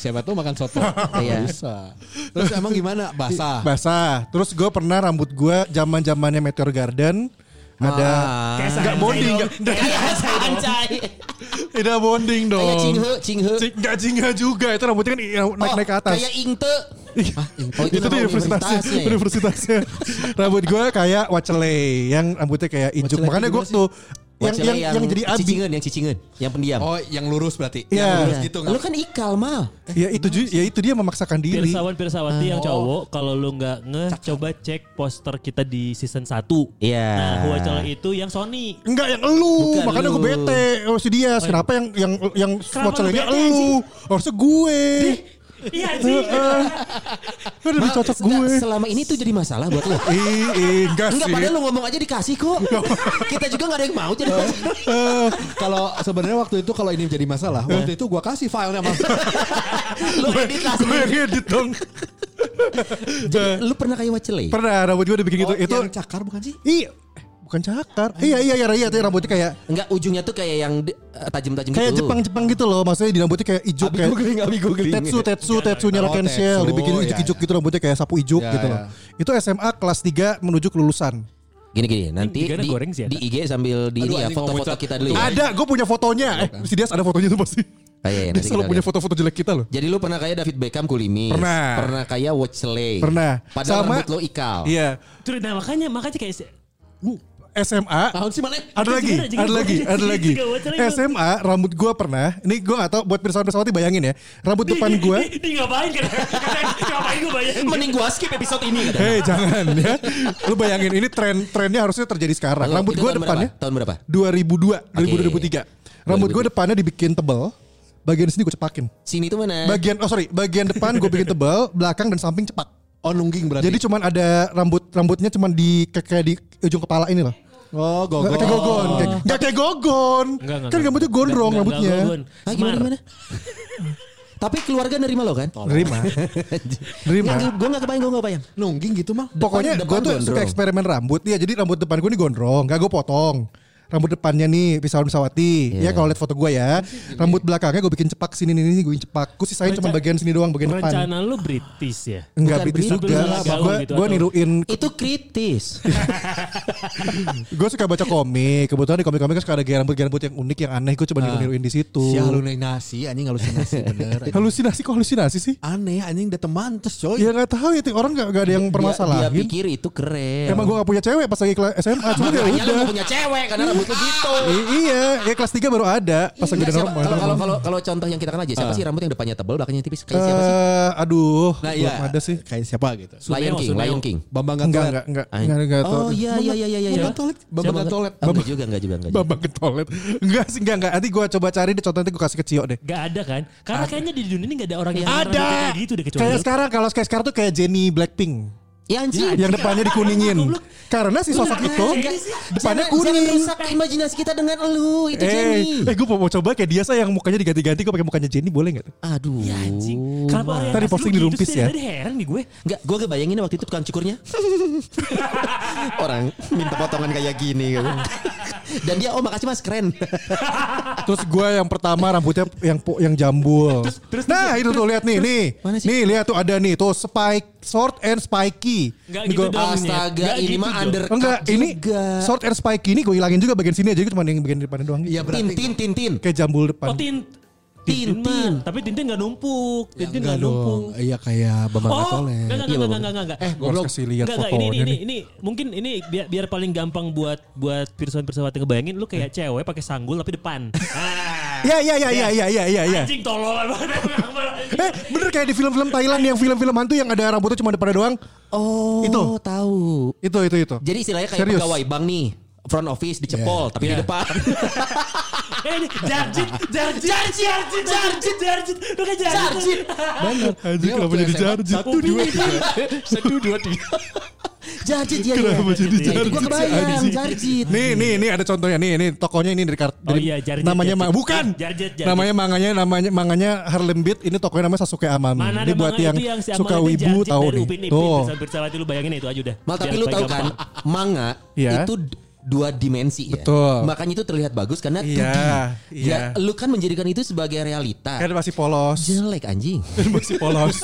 Speaker 4: Siapa tuh makan soto?
Speaker 3: Iya.
Speaker 4: Bisa. Terus emang gimana? Basah.
Speaker 2: basah. Terus gue pernah rambut gue zaman zamannya Meteor Garden ada
Speaker 1: Kayak
Speaker 2: nggak
Speaker 1: Sancai
Speaker 2: bonding,
Speaker 1: dong.
Speaker 2: nggak
Speaker 3: Kayak sancai.
Speaker 2: tidak bonding dong.
Speaker 3: Kayak cinghe, cinghe.
Speaker 2: Cing- nggak cingga juga itu rambutnya kan i- naik naik ke atas.
Speaker 3: Kayak ingte.
Speaker 2: Oh, itu, tuh universitasnya,
Speaker 3: iya.
Speaker 2: universitasnya. rambut gue kayak Wacele yang rambutnya kayak ijuk.
Speaker 3: Wacele
Speaker 2: Makanya gue
Speaker 3: gimana
Speaker 2: tuh yang, yang, yang, jadi abi.
Speaker 3: cicingan, yang ya? cicingan, yang pendiam.
Speaker 4: Oh, yang lurus berarti.
Speaker 2: Iya.
Speaker 4: Yang lurus
Speaker 3: Iya.
Speaker 4: gitu.
Speaker 3: Lu kan ikal mal.
Speaker 2: Ya itu ju- ya itu dia memaksakan diri.
Speaker 1: Pirsawan Pirsawati yang cowok kalau lu nggak nge coba cek poster kita di season 1.
Speaker 3: Iya.
Speaker 1: Nah, Huacala itu yang Sony.
Speaker 2: Enggak yang elu,
Speaker 3: Bukan
Speaker 2: makanya gue
Speaker 3: lu.
Speaker 2: bete oh, si Dias. Kenapa yang yang yang
Speaker 1: iya. Kenapa lu
Speaker 2: Wacelenya
Speaker 1: bete,
Speaker 2: elu? Harusnya gue.
Speaker 1: Iya sih.
Speaker 2: Kan lebih cocok gue.
Speaker 3: Selama ini tuh jadi masalah buat lu.
Speaker 2: Ih, ih, enggak
Speaker 3: Enggak
Speaker 2: sih.
Speaker 3: padahal lu ngomong aja dikasih kok. Kita juga gak ada yang mau jadi
Speaker 4: Eh, kalau sebenarnya waktu itu kalau ini menjadi masalah,
Speaker 2: Iya.
Speaker 4: waktu itu gua kasih filenya sama
Speaker 3: lu edit lah
Speaker 2: Gue
Speaker 3: sendiri.
Speaker 2: ngedit dong.
Speaker 3: Lu pernah kayak wacele?
Speaker 2: Pernah rambut gue udah bikin gitu.
Speaker 4: itu
Speaker 2: itu
Speaker 4: yang cakar bukan sih?
Speaker 2: iya, bukan cakar. Iya iya iya iya, iya, rambutnya kayak
Speaker 3: Enggak ujungnya tuh kayak yang di- eh, tajam-tajam
Speaker 2: kayak
Speaker 3: gitu.
Speaker 2: Jepang-Jepang gitu loh. Maksudnya di rambutnya kayak ijuk
Speaker 3: Abi
Speaker 2: kayak
Speaker 3: googling, abi googling.
Speaker 2: Tetsu, tetsu,
Speaker 3: iya,
Speaker 2: tetsunya rock and
Speaker 4: Oh,
Speaker 2: shell
Speaker 4: tetsu,
Speaker 2: Dibikin
Speaker 4: iya,
Speaker 2: ijuk-ijuk
Speaker 4: iya.
Speaker 2: gitu rambutnya kayak sapu ijuk
Speaker 4: Iya,
Speaker 2: gitu
Speaker 4: iya.
Speaker 2: loh Itu SMA kelas 3 menuju kelulusan
Speaker 3: Gini gini nanti
Speaker 1: Digana
Speaker 3: di,
Speaker 1: goreng sih,
Speaker 3: di IG sambil di
Speaker 4: Aduh,
Speaker 3: ini ya
Speaker 4: anjing,
Speaker 3: foto-foto
Speaker 4: ngomong
Speaker 3: kita dulu ya.
Speaker 2: Ada, gue punya fotonya Eh, si Dias ada fotonya tuh pasti
Speaker 3: Ah, kan? iya, iya,
Speaker 2: Dia
Speaker 3: nanti
Speaker 2: selalu
Speaker 3: kita
Speaker 2: punya
Speaker 3: lihat.
Speaker 2: foto-foto jelek kita loh
Speaker 3: Jadi lu pernah kayak David Beckham kulimis,
Speaker 2: Pernah.
Speaker 3: pernah kayak Wacele,
Speaker 2: Pernah.
Speaker 3: Padahal
Speaker 2: Sama-
Speaker 3: rambut lu ikal.
Speaker 2: Iya Uh,
Speaker 1: Terus nah makanya makanya kayak se-
Speaker 2: SMA
Speaker 4: Tahun sih mana?
Speaker 2: Ada lagi,
Speaker 1: Jangan, jangan.
Speaker 2: ada lagi,
Speaker 1: Jangan,
Speaker 2: ada lagi.
Speaker 1: jangan, jangan, jangan.
Speaker 2: SMA rambut gua pernah, ini gua gak tahu buat pirsawan-pirsawati bayangin ya. Rambut depan gua,
Speaker 1: Di, di, ngapain kan? ngapain gue bayangin?
Speaker 3: Mending gua skip episode ini katanya.
Speaker 2: hei jangan ya. Lu bayangin ini tren trennya harusnya terjadi sekarang.
Speaker 3: Lalu,
Speaker 2: Rambut
Speaker 3: itu
Speaker 2: gua
Speaker 3: tahun
Speaker 2: depannya
Speaker 3: berapa? Tahun berapa?
Speaker 2: 2002, 2003. Rambut gua
Speaker 3: 2003.
Speaker 2: depannya dibikin tebel, bagian sini gua cepakin.
Speaker 3: Sini tuh mana?
Speaker 2: Bagian oh sorry, bagian depan gua bikin tebel, belakang dan samping cepak.
Speaker 4: Oh nungging berarti.
Speaker 2: Jadi cuman ada rambut rambutnya cuman di kayak, kayak di ujung kepala ini loh.
Speaker 4: oh
Speaker 2: Nggak
Speaker 4: gogol.
Speaker 2: kayak gogon, kayak, nggak kayak gogon.
Speaker 1: Enggak, enggak,
Speaker 2: kan
Speaker 1: enggak.
Speaker 2: rambutnya
Speaker 1: Enggak,
Speaker 2: gondrong
Speaker 1: enggak,
Speaker 2: rambutnya.
Speaker 1: enggak, enggak,
Speaker 3: Ah,
Speaker 1: enggak.
Speaker 3: gimana
Speaker 1: Smart.
Speaker 3: gimana? Tapi keluarga nerima lo kan?
Speaker 2: Nerima. Nerima.
Speaker 3: Nggak, Gue gak kebayang, gue gak kebayang.
Speaker 4: Nungging gitu mah.
Speaker 2: Pokoknya gue
Speaker 3: Depan- depan
Speaker 2: tuh
Speaker 3: gondrong.
Speaker 2: suka eksperimen rambut. Iya, jadi rambut depan gue ini gondrong, gak gue potong. Rambut depannya nih pisauan pisawati. Ya kalau lihat foto gue ya, rambut belakangnya gue bikin cepak sini nih, gue bikin cepak. Gue sisain cuma
Speaker 1: Renca-
Speaker 2: bagian sini doang, bagian depan.
Speaker 1: Rencana lu British ya?
Speaker 2: Enggak
Speaker 3: Bukan
Speaker 2: British
Speaker 3: begitu,
Speaker 2: juga.
Speaker 1: beneran gaul
Speaker 2: Gue
Speaker 1: gitu
Speaker 2: gue
Speaker 1: atau-
Speaker 2: niruin.
Speaker 3: Itu kritis.
Speaker 2: Gue suka baca komik. Kebetulan di komik-komik kan suka ada gaya rambut-gaya rambut yang unik, yang aneh. Gue
Speaker 3: Ah.
Speaker 2: cuma niru-niruin di situ.
Speaker 4: Si halusinasi anjing halusinasi bener.
Speaker 2: Halusinasi kok halusinasi sih?
Speaker 4: Aneh anjing udah teman terus coy.
Speaker 2: Ya nggak tahu ya, ting- orang nggak nggak ada yang
Speaker 3: Oh, iya. Dia, dia
Speaker 2: permasalahin.
Speaker 3: pikir itu keren.
Speaker 2: Emang gue gak punya cewek pas lagi kelas SMA Cuma ya
Speaker 3: Makanya lu
Speaker 2: udah
Speaker 3: gak punya cewek karena rambut rambut lu gitu.
Speaker 2: I- iya, ya kelas 3 baru ada pas lagi udah
Speaker 3: Nggak, Iya, siapa-
Speaker 2: normal.
Speaker 3: Kalau kalau kalau kalau contoh yang kita kenal aja
Speaker 2: Ah.
Speaker 3: siapa sih rambut yang depannya tebal belakangnya tipis kayak siapa sih?
Speaker 2: Eh, aduh,
Speaker 4: Nah,
Speaker 2: belum
Speaker 4: iya.
Speaker 2: ada sih.
Speaker 4: Kayak siapa gitu.
Speaker 3: Lion
Speaker 1: Suneo,
Speaker 3: King,
Speaker 1: Suneo.
Speaker 3: Lion King.
Speaker 4: Bambang
Speaker 2: Enggak,
Speaker 4: Gatolet.
Speaker 2: enggak, enggak. Enggak, enggak. tahu.
Speaker 3: Oh iya iya iya iya iya.
Speaker 4: Bambang Gatolet. Bambang
Speaker 3: Siapa?
Speaker 4: Gatolet.
Speaker 3: Oh, Enggak juga enggak juga enggak juga.
Speaker 2: Bambang ke toilet. Enggak sih, enggak, enggak. Nanti gue coba cari deh, contoh nanti gue kasih ke Cio deh.
Speaker 1: Gak ada kan? Karena kayaknya di dunia ini gak ada orang yang rambutnya
Speaker 2: Ada.
Speaker 1: kayak gitu deh kecuali
Speaker 2: Kayak
Speaker 1: lu.
Speaker 2: sekarang, kalau kayak sekarang tuh kayak Jenny Blackpink.
Speaker 3: Ya
Speaker 1: Iya,
Speaker 3: anjing.
Speaker 2: Iya, Yang depannya dikuningin. Karena si sosok itu depannya
Speaker 3: Jangan- Jangan
Speaker 2: kuning.
Speaker 3: rusak imajinasi kita dengan elu itu Jenny.
Speaker 2: Eh, eh gue mau mau coba kayak dia saya yang mukanya diganti-ganti gue pakai mukanya Jenny boleh nggak? tuh?
Speaker 3: Aduh.
Speaker 1: Ya anjing.
Speaker 3: Oh.
Speaker 1: Kenapa orang
Speaker 2: Tadi
Speaker 1: yang
Speaker 2: posting
Speaker 1: asli
Speaker 2: di
Speaker 1: lu
Speaker 2: Rumpis
Speaker 1: gitu sih?
Speaker 2: ya.
Speaker 1: Tadi heran nih gue.
Speaker 3: Enggak, gue kebayangin waktu itu tukang cukurnya. Orang minta potongan kayak gini. gitu. Dan dia, oh makasih mas, keren.
Speaker 2: Terus gue yang pertama rambutnya yang po- yang jambul. nah itu tuh lihat nih nih.
Speaker 3: Mana sih?
Speaker 2: Nih lihat tuh ada nih tuh spike short and spiky.
Speaker 1: Nggak
Speaker 2: Ini
Speaker 1: gitu
Speaker 2: gua-
Speaker 1: dong.
Speaker 3: Astaga,
Speaker 1: Nggak
Speaker 3: ini
Speaker 1: gitu,
Speaker 3: mah
Speaker 1: Jo.
Speaker 3: undercut
Speaker 2: Enggak ini
Speaker 3: juga.
Speaker 2: short and spiky ini gue hilangin juga bagian sini aja cuma yang bagian depan doang.
Speaker 4: Iya
Speaker 3: Tin,
Speaker 4: berarti.
Speaker 3: tin, tin, tin.
Speaker 2: Kayak jambul depan.
Speaker 1: Oh Tin. Tin,
Speaker 3: Tin, Tin.
Speaker 1: mah. Tapi Tintin gak numpuk. Tintin
Speaker 4: Enggak
Speaker 1: gak numpuk.
Speaker 4: dong. Iya kayak Bambang
Speaker 1: Oh,
Speaker 4: Gatolet.
Speaker 1: enggak, enggak,
Speaker 3: Iya,
Speaker 1: enggak,
Speaker 3: Bapak.
Speaker 1: enggak, enggak, enggak.
Speaker 4: Eh,
Speaker 2: Gue harus
Speaker 4: goblok.
Speaker 2: kasih ya. lihat
Speaker 1: Enggak, enggak, ini,
Speaker 2: fotonya
Speaker 1: ini,
Speaker 2: nih.
Speaker 1: ini, mungkin ini biar, biar paling gampang buat buat pirsawan pirsawan ngebayangin lu kayak cewek pakai sanggul tapi depan. Ah.
Speaker 2: Ya ya ya ya ya ya ya ya.
Speaker 1: Anjing tolol banget.
Speaker 2: Eh bener kayak di film-film Thailand yang film-film hantu yang ada rambutnya cuma depannya doang.
Speaker 3: Oh,
Speaker 2: Itu.
Speaker 3: tahu.
Speaker 2: Itu itu itu.
Speaker 3: Jadi istilahnya kayak
Speaker 2: Serius.
Speaker 3: pegawai bank nih. Front office dicepol, tapi di depan.
Speaker 1: Eh, ini jarjit, jarjit, jarjit, jarjit, jarjit, jarjit. Lu kayak jarjit.
Speaker 2: Bener. Anjing
Speaker 4: Dia
Speaker 2: kenapa
Speaker 4: waktu
Speaker 2: jadi
Speaker 4: SMA,
Speaker 2: jarjit?
Speaker 4: Satu, dua, tiga. Satu, dua, tiga.
Speaker 3: Jarjit ya.
Speaker 2: Kenapa jadi
Speaker 3: Itu gue
Speaker 2: jarjit sih,
Speaker 3: kebayang,
Speaker 2: anjing?
Speaker 3: jarjit.
Speaker 2: Nih nih nih ada contohnya nih nih tokonya ini dari kartu
Speaker 1: Oh iya, Jarjet,
Speaker 2: namanya
Speaker 1: Jarjet.
Speaker 2: ma- bukan
Speaker 1: Jarjet, Jarjet.
Speaker 2: namanya manganya namanya manganya Harlem Beat ini tokonya namanya Sasuke Amami
Speaker 1: Mana
Speaker 2: Hmm. ini
Speaker 1: ada
Speaker 2: buat
Speaker 1: banget
Speaker 2: yang,
Speaker 1: itu si Amang
Speaker 2: suka
Speaker 1: itu
Speaker 2: wibu
Speaker 1: jarjit
Speaker 2: tahu
Speaker 1: dari
Speaker 2: nih
Speaker 1: Upin Ipin.
Speaker 2: tuh
Speaker 1: Pirsawan pirsawan itu lu bayangin itu aja udah.
Speaker 3: Mal tapi
Speaker 1: Biar
Speaker 3: lu
Speaker 1: paling
Speaker 3: tahu
Speaker 1: gampang.
Speaker 3: kan manga
Speaker 2: Iya.
Speaker 3: itu d- dua dimensi ya.
Speaker 2: Betul.
Speaker 3: Makanya itu terlihat bagus karena 2D.
Speaker 2: Iya, iya.
Speaker 3: Ya, lu kan menjadikan itu sebagai realita.
Speaker 2: kan masih polos
Speaker 3: Jelek anjing.
Speaker 2: masih polos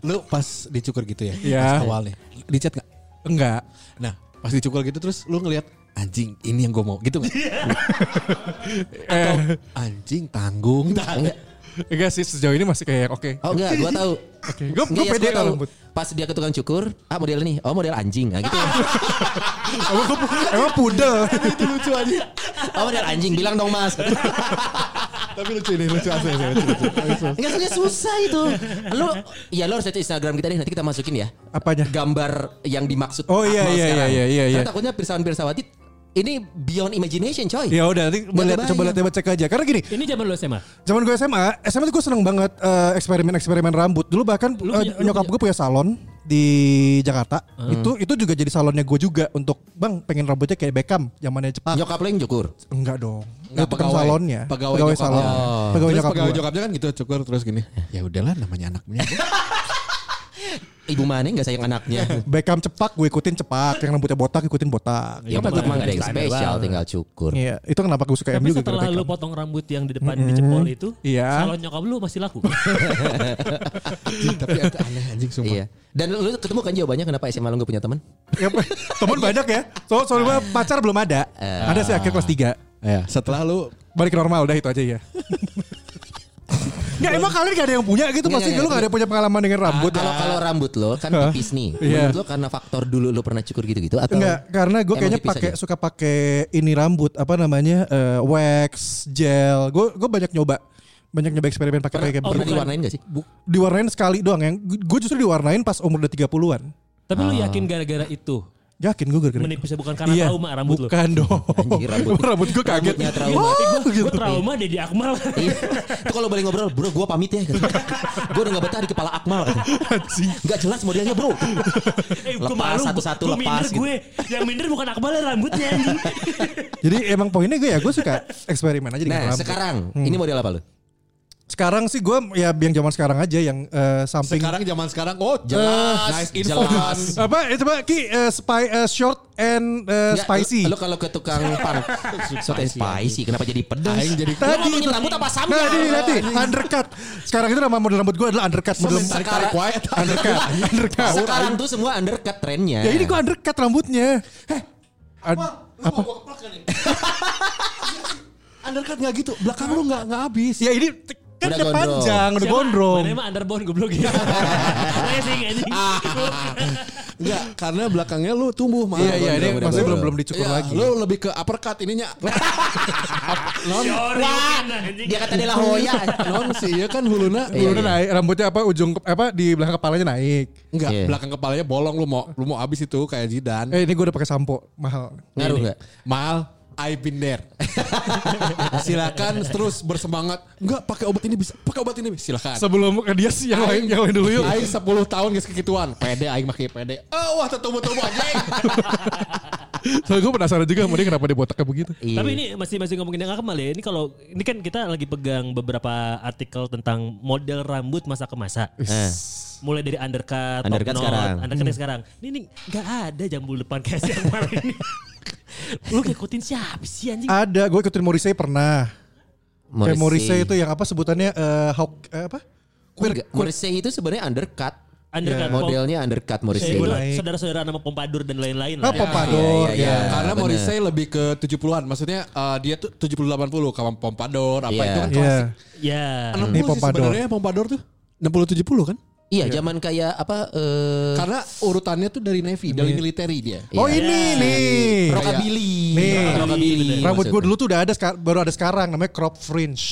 Speaker 4: Lu pas dicukur gitu ya?
Speaker 2: Iya.
Speaker 4: Pas awalnya. Dicat gak?
Speaker 2: enggak
Speaker 4: Nah, pas dicukur gitu terus lu ngelihat anjing ini yang gue mau gitu gak? Atau anjing tanggung.
Speaker 3: Enggak.
Speaker 2: enggak sih sejauh ini masih kayak oke
Speaker 3: Oh enggak, gua tahu.
Speaker 2: oke gue
Speaker 3: Enggak, yes,
Speaker 2: pede
Speaker 3: gua
Speaker 2: kalau
Speaker 3: tahu.
Speaker 2: rambut
Speaker 3: Pas dia ke tukang cukur, ah model nih. Oh model anjing. Nah, gitu.
Speaker 2: emang gua pu- emang pudel
Speaker 4: Itu lucu aja.
Speaker 3: oh model anjing, bilang dong mas.
Speaker 4: Tapi lucu ini, lucu asli. asli, lucu, lucu.
Speaker 2: Nah, gitu.
Speaker 3: Enggak soalnya susah itu. Lu ya lu harus lihat Instagram kita deh nanti kita masukin ya.
Speaker 2: apanya
Speaker 3: Gambar yang dimaksud
Speaker 2: Oh, iya,
Speaker 3: Akmal
Speaker 2: iya, iya,
Speaker 3: sekarang.
Speaker 2: iya, iya.
Speaker 3: Karena takutnya pirsawan pirsawati ini beyond imagination coy.
Speaker 2: ya udah nanti melihat coba lihat coba cek aja karena gini
Speaker 1: Ini zaman lu SMA.
Speaker 2: Zaman gue SMA, SMA tuh gue seneng banget eh, eksperimen-eksperimen rambut. Dulu bahkan
Speaker 1: Lu
Speaker 2: eh,
Speaker 1: punya- lu punya-
Speaker 2: nyokap
Speaker 1: Hmm.
Speaker 2: gue punya salon di Jakarta. Itu itu juga jadi salonnya gue juga untuk bang pengen rambutnya kayak Beckham zamannya Jepang.
Speaker 3: Nyokap lo yang cukur.
Speaker 2: Enggak dong.
Speaker 4: Nggak,
Speaker 2: Enggak tukang
Speaker 4: pegawai.
Speaker 2: salonnya.
Speaker 4: Pegawai nyokap.
Speaker 2: salon.
Speaker 4: Oh.
Speaker 2: Pegawai
Speaker 4: Terus
Speaker 2: nyokap
Speaker 4: pegawai
Speaker 2: gue.
Speaker 4: nyokapnya kan gitu cukur terus gini. Ya udahlah namanya anaknya.
Speaker 3: Ibu mana nggak sayang anaknya?
Speaker 2: Beckham cepak gue ikutin cepak, yang rambutnya botak ikutin botak.
Speaker 1: Iya,
Speaker 3: ya tetep mah nggak ada yang
Speaker 1: standar
Speaker 3: spesial,
Speaker 1: banget.
Speaker 3: tinggal cukur.
Speaker 2: Iya, itu kenapa gue suka
Speaker 1: Tapi
Speaker 2: MU juga
Speaker 1: setelah
Speaker 2: gara-gara
Speaker 1: lu
Speaker 2: Beckham.
Speaker 1: potong rambut yang di depan di jempol itu,
Speaker 2: Iya.
Speaker 1: salon nyokap lu masih laku.
Speaker 4: Anjing, tapi itu aneh anjing sumpah.
Speaker 3: Iya. Dan lu ketemu kan jawabannya kenapa SMA lu gak punya teman?
Speaker 2: Ya, temen
Speaker 3: Iya.
Speaker 2: banyak ya. So, soalnya
Speaker 3: Ah.
Speaker 2: gue pacar belum ada.
Speaker 3: Eh.
Speaker 2: Ada sih akhir kelas 3.
Speaker 3: Iya.
Speaker 4: Ya, setelah lu
Speaker 2: balik normal udah itu aja ya. Nggak emang kalian gak ada yang punya gitu
Speaker 3: Nggak,
Speaker 2: pasti
Speaker 3: nggak,
Speaker 2: lu gak ada yang punya pengalaman dengan rambut.
Speaker 3: iya, Ah, Kalau kalau rambut lo kan tipis nih.
Speaker 2: Iya.
Speaker 3: Menurut lo karena faktor dulu lo pernah cukur gitu-gitu atau
Speaker 2: Enggak, karena gue
Speaker 3: Emang
Speaker 2: kayaknya
Speaker 3: tipis
Speaker 2: pakai
Speaker 3: aja?
Speaker 2: suka pakai ini rambut apa namanya eh, wax gel. Gue gue banyak nyoba banyak nyoba eksperimen pakai pakai
Speaker 3: pernah
Speaker 1: bukan.
Speaker 3: diwarnain gak sih?
Speaker 2: diwarnain sekali doang yang gue justru diwarnain pas umur udah 30-an.
Speaker 1: Tapi lu yakin gara-gara itu
Speaker 2: Yakin gue gara-gara.
Speaker 1: menipisnya bukan karena
Speaker 2: Ah. Iya,
Speaker 1: trauma rambut lu?
Speaker 2: Bukan dong.
Speaker 3: Anjir, rambut.
Speaker 2: rambut gue kaget.
Speaker 3: Rambutnya trauma.
Speaker 1: Oh,
Speaker 3: Eh,
Speaker 2: Wah, gitu.
Speaker 1: Gue trauma Deddy Akmal.
Speaker 3: Iya. Itu kalau boleh ngobrol, bro, gue pamit ya. Gue udah gak betah di kepala Akmal.
Speaker 2: Anjing.
Speaker 3: Gak jelas modelnya bro.
Speaker 1: Eh,
Speaker 3: Lepas, satu-satu
Speaker 1: gua
Speaker 3: lepas
Speaker 1: minder
Speaker 3: gitu.
Speaker 1: gue. Yang minder bukan Akmalnya rambutnya anjing.
Speaker 2: Jadi emang poinnya gue ya gue suka eksperimen aja dengan
Speaker 3: Nah
Speaker 2: rambut.
Speaker 3: sekarang ini model apa lo?
Speaker 2: Sekarang sih gue ya yang zaman sekarang aja yang eh, samping
Speaker 4: sekarang zaman sekarang oh
Speaker 3: Jelas,
Speaker 4: nice
Speaker 3: jelas.
Speaker 4: info.
Speaker 2: apa ya coba ki eh, spy eh, short and eh,
Speaker 3: Ya,
Speaker 2: spicy
Speaker 3: Lo kalau ke tukang pang, sote spicy. Kenapa jadi pedes?
Speaker 4: Aing jadi-
Speaker 3: Lo ngomongin rambut apa sambil?
Speaker 2: nah ini nanti undercut sekarang itu nama model rambut gue adalah undercut model
Speaker 3: Sebentar.
Speaker 4: Tarik-tarik wae.
Speaker 2: undercut undercut
Speaker 3: Sekarang tuh semua undercut trennya.
Speaker 2: ya ini gue undercut rambutnya Heh. Ad- apa
Speaker 4: Undercut nggak gitu, belakang lu nggak nggak habis.
Speaker 2: ya ini t- Kan
Speaker 3: Udah
Speaker 2: udah
Speaker 3: gondrong.
Speaker 2: panjang, udah
Speaker 1: Siapa?
Speaker 2: gondrong. Ah.
Speaker 1: Mana emang underbone goblok gitu. Racing anjing.
Speaker 4: Enggak, karena belakangnya lu tumbuh malah.
Speaker 2: Iya iya, ini masih
Speaker 3: Gondrong, udah
Speaker 2: belum
Speaker 3: gondrong.
Speaker 2: belum dicukur
Speaker 4: Iya,
Speaker 2: lagi.
Speaker 4: Lu lebih ke uppercut ininya. non,
Speaker 1: Shoryuken anjing.
Speaker 3: Dia kata dia lah "Oh, iya."
Speaker 4: Iya.
Speaker 3: hoya.
Speaker 4: non sih ya kan huluna.
Speaker 2: Lu udah
Speaker 3: Iya, iya.
Speaker 2: naik rambutnya apa ujung ke- apa di belakang kepalanya naik.
Speaker 4: Enggak,
Speaker 3: Iya.
Speaker 4: belakang kepalanya bolong lu mau lu mau habis itu kayak Jidan.
Speaker 2: Eh ini gue udah pakai sampo mahal.
Speaker 3: Ngaruh nggak?
Speaker 4: Mal, I've been there. Silakan terus bersemangat. Enggak, pakai obat ini bisa. Pakai obat ini bisa. silakan.
Speaker 2: Sebelum ke dia sih yang lain yang lain dulu yuk.
Speaker 4: Aing 10 tahun geus kekituan. Pede aing make pede. Oh, wah tetumbu-tumbu anjing.
Speaker 2: Soalnya gue penasaran juga sama dia kenapa dia botaknya begitu.
Speaker 3: Iya.
Speaker 1: Tapi ini masih masih ngomongin yang Akmal ya. Ini kalau ini kan kita lagi pegang beberapa artikel tentang model rambut masa ke masa.
Speaker 3: Eh.
Speaker 1: Mulai dari undercut, top
Speaker 3: Undercut
Speaker 1: knot,
Speaker 3: sekarang.
Speaker 1: undercut
Speaker 2: Hmm.
Speaker 1: yang sekarang. Ini ini nggak ada jambul depan kayak si Akmal ini. Lu ngikutin siapa sih anjing?
Speaker 2: Ada, gue ikutin Morrissey pernah. Kayak Morrissey
Speaker 3: Morrissey.
Speaker 2: itu yang apa sebutannya eh hawk eh, apa? Quirk,
Speaker 3: Enggak, Morrissey itu sebenarnya undercut.
Speaker 2: Ah,
Speaker 1: Undercut
Speaker 2: iya,
Speaker 1: pom-
Speaker 3: Modelnya undercut
Speaker 1: eh,
Speaker 3: Morrissey.
Speaker 1: gua
Speaker 2: Naik.
Speaker 1: saudara-saudara nama Pompadour dan lain-lain
Speaker 2: Ah,
Speaker 1: lah. ya.
Speaker 2: Pompadour.
Speaker 3: Iya, iya,
Speaker 2: ya.
Speaker 3: iya.
Speaker 4: Karena
Speaker 3: bener.
Speaker 4: Morrissey lebih ke 70-an. Maksudnya eh, dia tuh 70 80 kawan Pompadour apa
Speaker 3: Iya.
Speaker 4: itu kan
Speaker 2: Iya.
Speaker 4: klasik.
Speaker 1: Ya.
Speaker 4: 60
Speaker 2: Ini
Speaker 4: sih
Speaker 2: Pompadour.
Speaker 4: sebenarnya Pompadour tuh. 60 70 kan?
Speaker 3: Iya, zaman kayak apa eh
Speaker 4: Karena urutannya tuh dari navy, dari militeri dia.
Speaker 3: iya.
Speaker 2: Oh ini nih.
Speaker 3: rockabilly.
Speaker 2: Nih.
Speaker 3: Rockabilly.
Speaker 2: Rambut gue
Speaker 3: maksudnya.
Speaker 2: dulu tuh udah ada sekar- baru ada sekarang namanya crop fringe.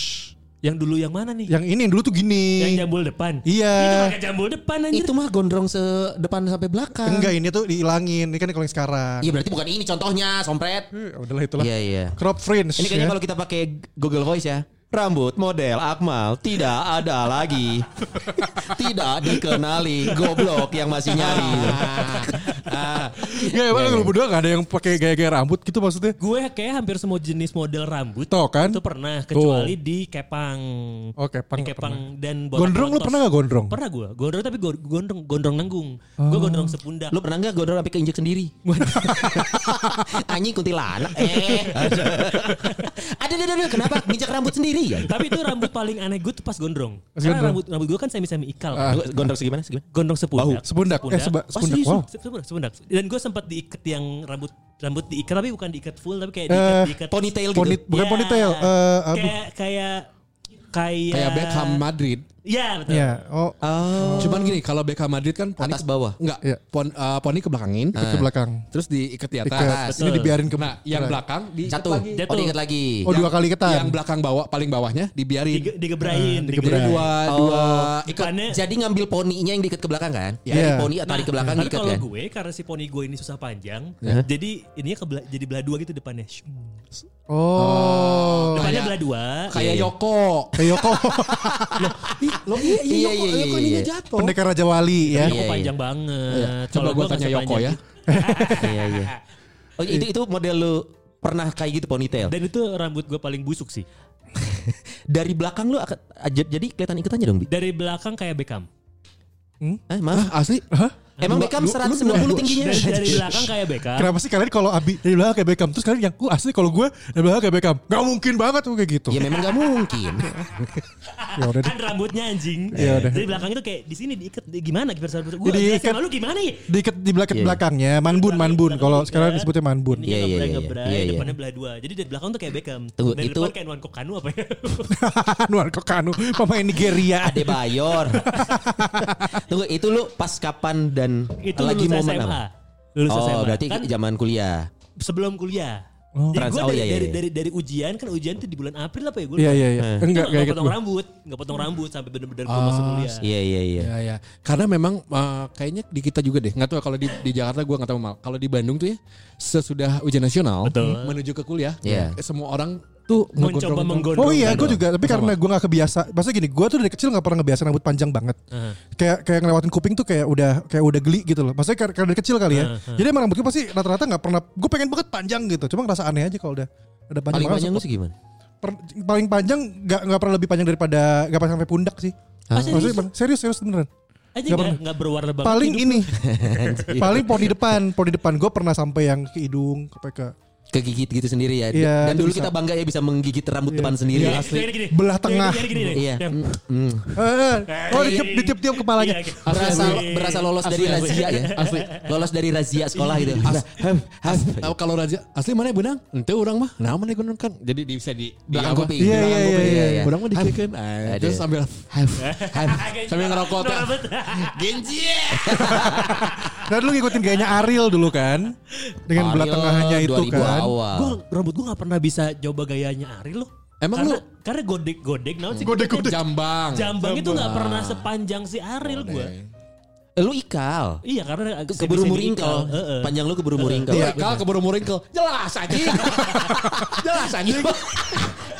Speaker 1: Yang dulu yang mana nih?
Speaker 2: Yang ini yang dulu tuh
Speaker 1: Yang
Speaker 2: gini.
Speaker 1: jambul depan. Itu
Speaker 2: Iya.
Speaker 1: pakai jambul depan anjir.
Speaker 3: itu mah gondrong se depan sampai belakang.
Speaker 2: Enggak ini tuh dihilangin. Ini kan kalau yang sekarang.
Speaker 3: Iya berarti bukan ini contohnya, sompret.
Speaker 2: Eh, Udahlah itulah.
Speaker 3: Iya, iya.
Speaker 2: Crop fringe.
Speaker 3: Ini kayaknya
Speaker 2: ya.
Speaker 3: kalau kita pakai Google Voice ya. Rambut model Akmal tidak ada lagi. tidak dikenali goblok yang masih nyari. Ah.
Speaker 2: Enggak
Speaker 3: Iya,
Speaker 2: emang lu berdua gak ada yang pakai gaya-gaya rambut gitu maksudnya.
Speaker 1: Gue kayak hampir semua jenis model rambut
Speaker 2: Tuh kan.
Speaker 1: itu pernah kecuali di Kepang.
Speaker 2: Oh, Kepang
Speaker 1: Di Kepang dan botak
Speaker 2: Gondrong lu
Speaker 1: rontos.
Speaker 2: pernah gak gondrong? Oh.
Speaker 1: Pernah gue. Gondrong tapi go- gondrong gondrong nanggung. Gue gondrong sepundak.
Speaker 3: Lu pernah nggak gondrong sampai keinjek sendiri? Anjing kuntilanak. Eh. ada ada ada kenapa nginjak rambut sendiri ya?
Speaker 1: tapi itu rambut paling aneh gue tuh pas gondrong.
Speaker 2: Pas
Speaker 1: Karena
Speaker 2: gondrong.
Speaker 1: rambut rambut gue kan semi semi ikal. kan.
Speaker 3: Lu Gondrong segimana segimana?
Speaker 1: Gondrong sepundak.
Speaker 2: Bahu. Sepundak. Eh, seba-
Speaker 1: Wah,
Speaker 2: sepundak.
Speaker 1: serius,
Speaker 2: Wow.
Speaker 1: se- sepundak, sepundak. Dan gue sempat diikat yang rambut rambut diikat tapi bukan diikat full tapi kayak
Speaker 2: Eh,
Speaker 1: diikat diikat
Speaker 3: Ponytail gitu.
Speaker 2: Poni, bukan
Speaker 1: Ya.
Speaker 2: ponytail. Eh, aduh.
Speaker 1: kayak kayak kayak
Speaker 4: Kayak Beckham Madrid.
Speaker 1: Iya betul.
Speaker 2: Iya. Oh,
Speaker 4: Ah. Cuman gini, kalau Beckham Madrid kan poni
Speaker 3: Atas bawah. Ah.
Speaker 4: Enggak,
Speaker 2: Iya.
Speaker 4: pon, eh, poni ke belakangin.
Speaker 2: ke belakang.
Speaker 4: Terus diikat di
Speaker 2: Tiket.
Speaker 4: atas.
Speaker 2: Ini
Speaker 1: Betul.
Speaker 2: dibiarin ke
Speaker 4: Nah, yang belakang diikat
Speaker 3: Satu.
Speaker 4: lagi.
Speaker 3: Oh diingat lagi.
Speaker 2: Oh, dua kali ketan.
Speaker 4: Yang belakang bawah paling bawahnya dibiarin.
Speaker 1: Dige-
Speaker 2: Ah,
Speaker 1: digebrain,
Speaker 4: Jadi
Speaker 1: digebrain.
Speaker 4: dua dua ikat.
Speaker 1: Ikannya
Speaker 3: Eh, Jadi ngambil poninya yang diikat ke belakang kan?
Speaker 2: Iya.
Speaker 3: Dari poni tarik ke belakang
Speaker 1: Tapi
Speaker 3: diikat
Speaker 1: Nah, kalau
Speaker 3: kan?
Speaker 1: gue karena si poni gue ini susah panjang, jadi ininya ke bela- jadi belah dua gitu depannya. Shum.
Speaker 2: Oh.
Speaker 1: Depannya
Speaker 4: Kayak-
Speaker 1: belah dua.
Speaker 4: Kayak
Speaker 3: Iya.
Speaker 4: Yoko.
Speaker 2: Kayak Yoko.
Speaker 4: Ih, lo iya
Speaker 3: Iya,
Speaker 4: iya
Speaker 3: iya,
Speaker 4: Yoko, Yoko
Speaker 3: iya,
Speaker 4: ininya
Speaker 3: iya.
Speaker 4: jatuh.
Speaker 2: Pendekar Raja Wali ya.
Speaker 1: Iya,
Speaker 3: Iya,
Speaker 1: kok
Speaker 3: iya.
Speaker 1: panjang banget.
Speaker 4: Coba
Speaker 1: Kalau
Speaker 4: gue
Speaker 1: nggak
Speaker 4: tanya Yoko
Speaker 1: sepanjang
Speaker 4: ya.
Speaker 1: itu.
Speaker 3: Iya iya. Oh itu itu model lu pernah kayak gitu ponytail.
Speaker 1: Dan itu rambut gue paling busuk sih.
Speaker 3: Dari belakang lu akan- aja- jadi kelihatan ikut aja dong. Bi.
Speaker 1: Dari belakang kayak Beckham.
Speaker 3: Eh,
Speaker 2: Ah,
Speaker 3: maaf.
Speaker 4: Hah, asli?
Speaker 3: Emang
Speaker 4: Dua-
Speaker 3: Beckham
Speaker 4: lu- lu
Speaker 3: 190 tingginya.
Speaker 1: Dari, dari belakang kayak Beckham.
Speaker 2: Kenapa sih kalian kalau Abi dari belakang kayak Beckham terus kalian yang gue asli kalau gue dari belakang kayak Beckham nggak mungkin banget tuh kayak
Speaker 4: Iya,
Speaker 2: gitu.
Speaker 3: Ya memang gak mungkin.
Speaker 2: Ya udah deh.
Speaker 1: Kan rambutnya anjing.
Speaker 2: Iya, udah.
Speaker 1: Dari belakang itu kayak di sini diikat di- gimana Gimana rambut gue.
Speaker 2: Jadi
Speaker 1: Jadi
Speaker 2: ikat-
Speaker 1: sama lu gimana ya?
Speaker 2: Diikat di belakang
Speaker 4: Iya.
Speaker 2: belakangnya manbun manbun kalau sekarang disebutnya manbun.
Speaker 1: Ininya
Speaker 3: Iya, iya,
Speaker 1: ngebrai
Speaker 3: iya,
Speaker 1: ngebrai,
Speaker 3: iya, iya.
Speaker 1: depannya belah dua. Jadi dari belakang tuh kayak Beckham.
Speaker 3: Tunggu,
Speaker 1: dari
Speaker 3: itu-
Speaker 1: depan kayak Nwanko Kanu apa ya?
Speaker 2: Anwar Kokanu pemain Nigeria.
Speaker 3: Ade Bayor. Tunggu itu lu pas kapan dan
Speaker 1: itu
Speaker 3: lagi
Speaker 1: lulus
Speaker 3: momen
Speaker 1: SMA.
Speaker 3: apa?
Speaker 1: Lulus
Speaker 3: oh
Speaker 1: SMA.
Speaker 3: berarti
Speaker 1: kan
Speaker 3: zaman kuliah.
Speaker 1: sebelum kuliah.
Speaker 2: Oh.
Speaker 1: Jadi
Speaker 3: Trans-
Speaker 1: gue
Speaker 3: oh,
Speaker 1: dari,
Speaker 3: iya, iya,
Speaker 1: dari,
Speaker 3: iya.
Speaker 1: dari, dari ujian kan ujian tuh di bulan April apa ya gue?
Speaker 2: Iya iya iya. Enggak
Speaker 1: Enggak,
Speaker 2: kayak gitu.
Speaker 1: potong rambut, enggak potong rambut sampai bener-bener gue masuk kuliah.
Speaker 3: Iya iya iya.
Speaker 4: Ya ya. Karena memang eh, kayaknya di kita juga deh. Nggak tahu ya, kalau di, di Jakarta gue nggak tahu mal. Kalau di Bandung tuh ya sesudah ujian nasional Hmm.
Speaker 1: Betul.
Speaker 4: menuju ke kuliah,
Speaker 3: Iya.
Speaker 4: eh, semua orang tuh
Speaker 1: Mencoba
Speaker 4: menggondrong-gondrong.
Speaker 1: menggondrong.
Speaker 2: Oh iya, gue juga. Tapi karena gue gak kebiasa. Maksudnya gini, gue tuh dari kecil gak pernah ngebiasa rambut panjang banget. Kayak kayak ngelewatin kuping tuh kayak udah kayak udah geli gitu loh. Maksudnya kar- karena dari kecil kali ya. Jadi emang rambut gue pasti rata-rata gak pernah. Gue pengen banget panjang gitu. Cuma ngerasa aneh aja kalau udah ada panjang.
Speaker 3: Paling
Speaker 2: Makanya
Speaker 3: panjang lu
Speaker 2: suka-
Speaker 3: segimana?
Speaker 2: per- paling panjang gak nggak pernah lebih panjang daripada gak pernah sampai pundak sih.
Speaker 1: Ah, serius?
Speaker 2: Maksudnya pernah- serius serius
Speaker 1: Aja
Speaker 2: beneran. Nggak
Speaker 1: enggak
Speaker 2: pernah.
Speaker 1: enggak berwarna banget.
Speaker 2: paling
Speaker 1: hidup.
Speaker 2: ini, paling poni depan, poni depan gue pernah sampai yang ke hidung, sampai ke
Speaker 3: kegigit gitu sendiri ya.
Speaker 2: Iya, itu
Speaker 3: Dan dulu
Speaker 2: bisa.
Speaker 3: kita bangga ya bisa menggigit rambut depan sendiri.
Speaker 1: Iya,
Speaker 3: ya.
Speaker 1: asli. Gini, gini, gini.
Speaker 2: Belah
Speaker 1: Gini,
Speaker 2: tengah.
Speaker 1: gini, gini, gini.
Speaker 3: Iya.
Speaker 1: Yang-
Speaker 2: Eh, eh. oh
Speaker 1: Iya,
Speaker 2: ditiup
Speaker 1: iya,
Speaker 2: ditiup tiup kepalanya.
Speaker 1: iya, iya.
Speaker 3: Berasa
Speaker 1: Asli.
Speaker 3: berasa lolos
Speaker 4: Asli,
Speaker 3: dari
Speaker 4: asli.
Speaker 3: razia ya.
Speaker 4: Asli.
Speaker 3: Lolos dari razia sekolah gitu. Hem, hem.
Speaker 4: Tahu kalau raja asli mana ya, benang? Ente orang mah. Nah, mana benang kan. Jadi di, bisa di di
Speaker 3: Belakang
Speaker 4: apa?
Speaker 3: kuping.
Speaker 2: Iya,
Speaker 3: belakang
Speaker 2: iya,
Speaker 3: kuping,
Speaker 2: iya, iya.
Speaker 4: Benang mah dikekeun.
Speaker 3: Aduh.
Speaker 4: Terus sambil
Speaker 3: Hem, hem.
Speaker 4: sambil ngerokok teh.
Speaker 1: Rambut.
Speaker 4: Genji.
Speaker 2: Dan lu ngikutin gayanya Ariel dulu kan. Dengan belah
Speaker 3: Ariel
Speaker 2: tengahnya itu
Speaker 3: 2000
Speaker 2: kan.
Speaker 3: awal.
Speaker 1: Gua rambut gua gak pernah bisa coba gayanya Ari loh.
Speaker 4: Emang
Speaker 1: karena,
Speaker 4: lu-
Speaker 1: karena godek-godek naon sih?
Speaker 2: Godek-godek.
Speaker 4: Jambang.
Speaker 1: Jambang itu gak pernah sepanjang si Aril gua.
Speaker 4: eh,
Speaker 3: Lu ikal.
Speaker 1: Iya karena
Speaker 3: Ke- Keburu
Speaker 1: semi-semi ikal.
Speaker 3: muringkel.
Speaker 1: Heeh.
Speaker 3: Kan Panjang lu keburu muringkel.
Speaker 4: Iya, kalau keburu muringkel. Jelas anjing. Jelas anjing.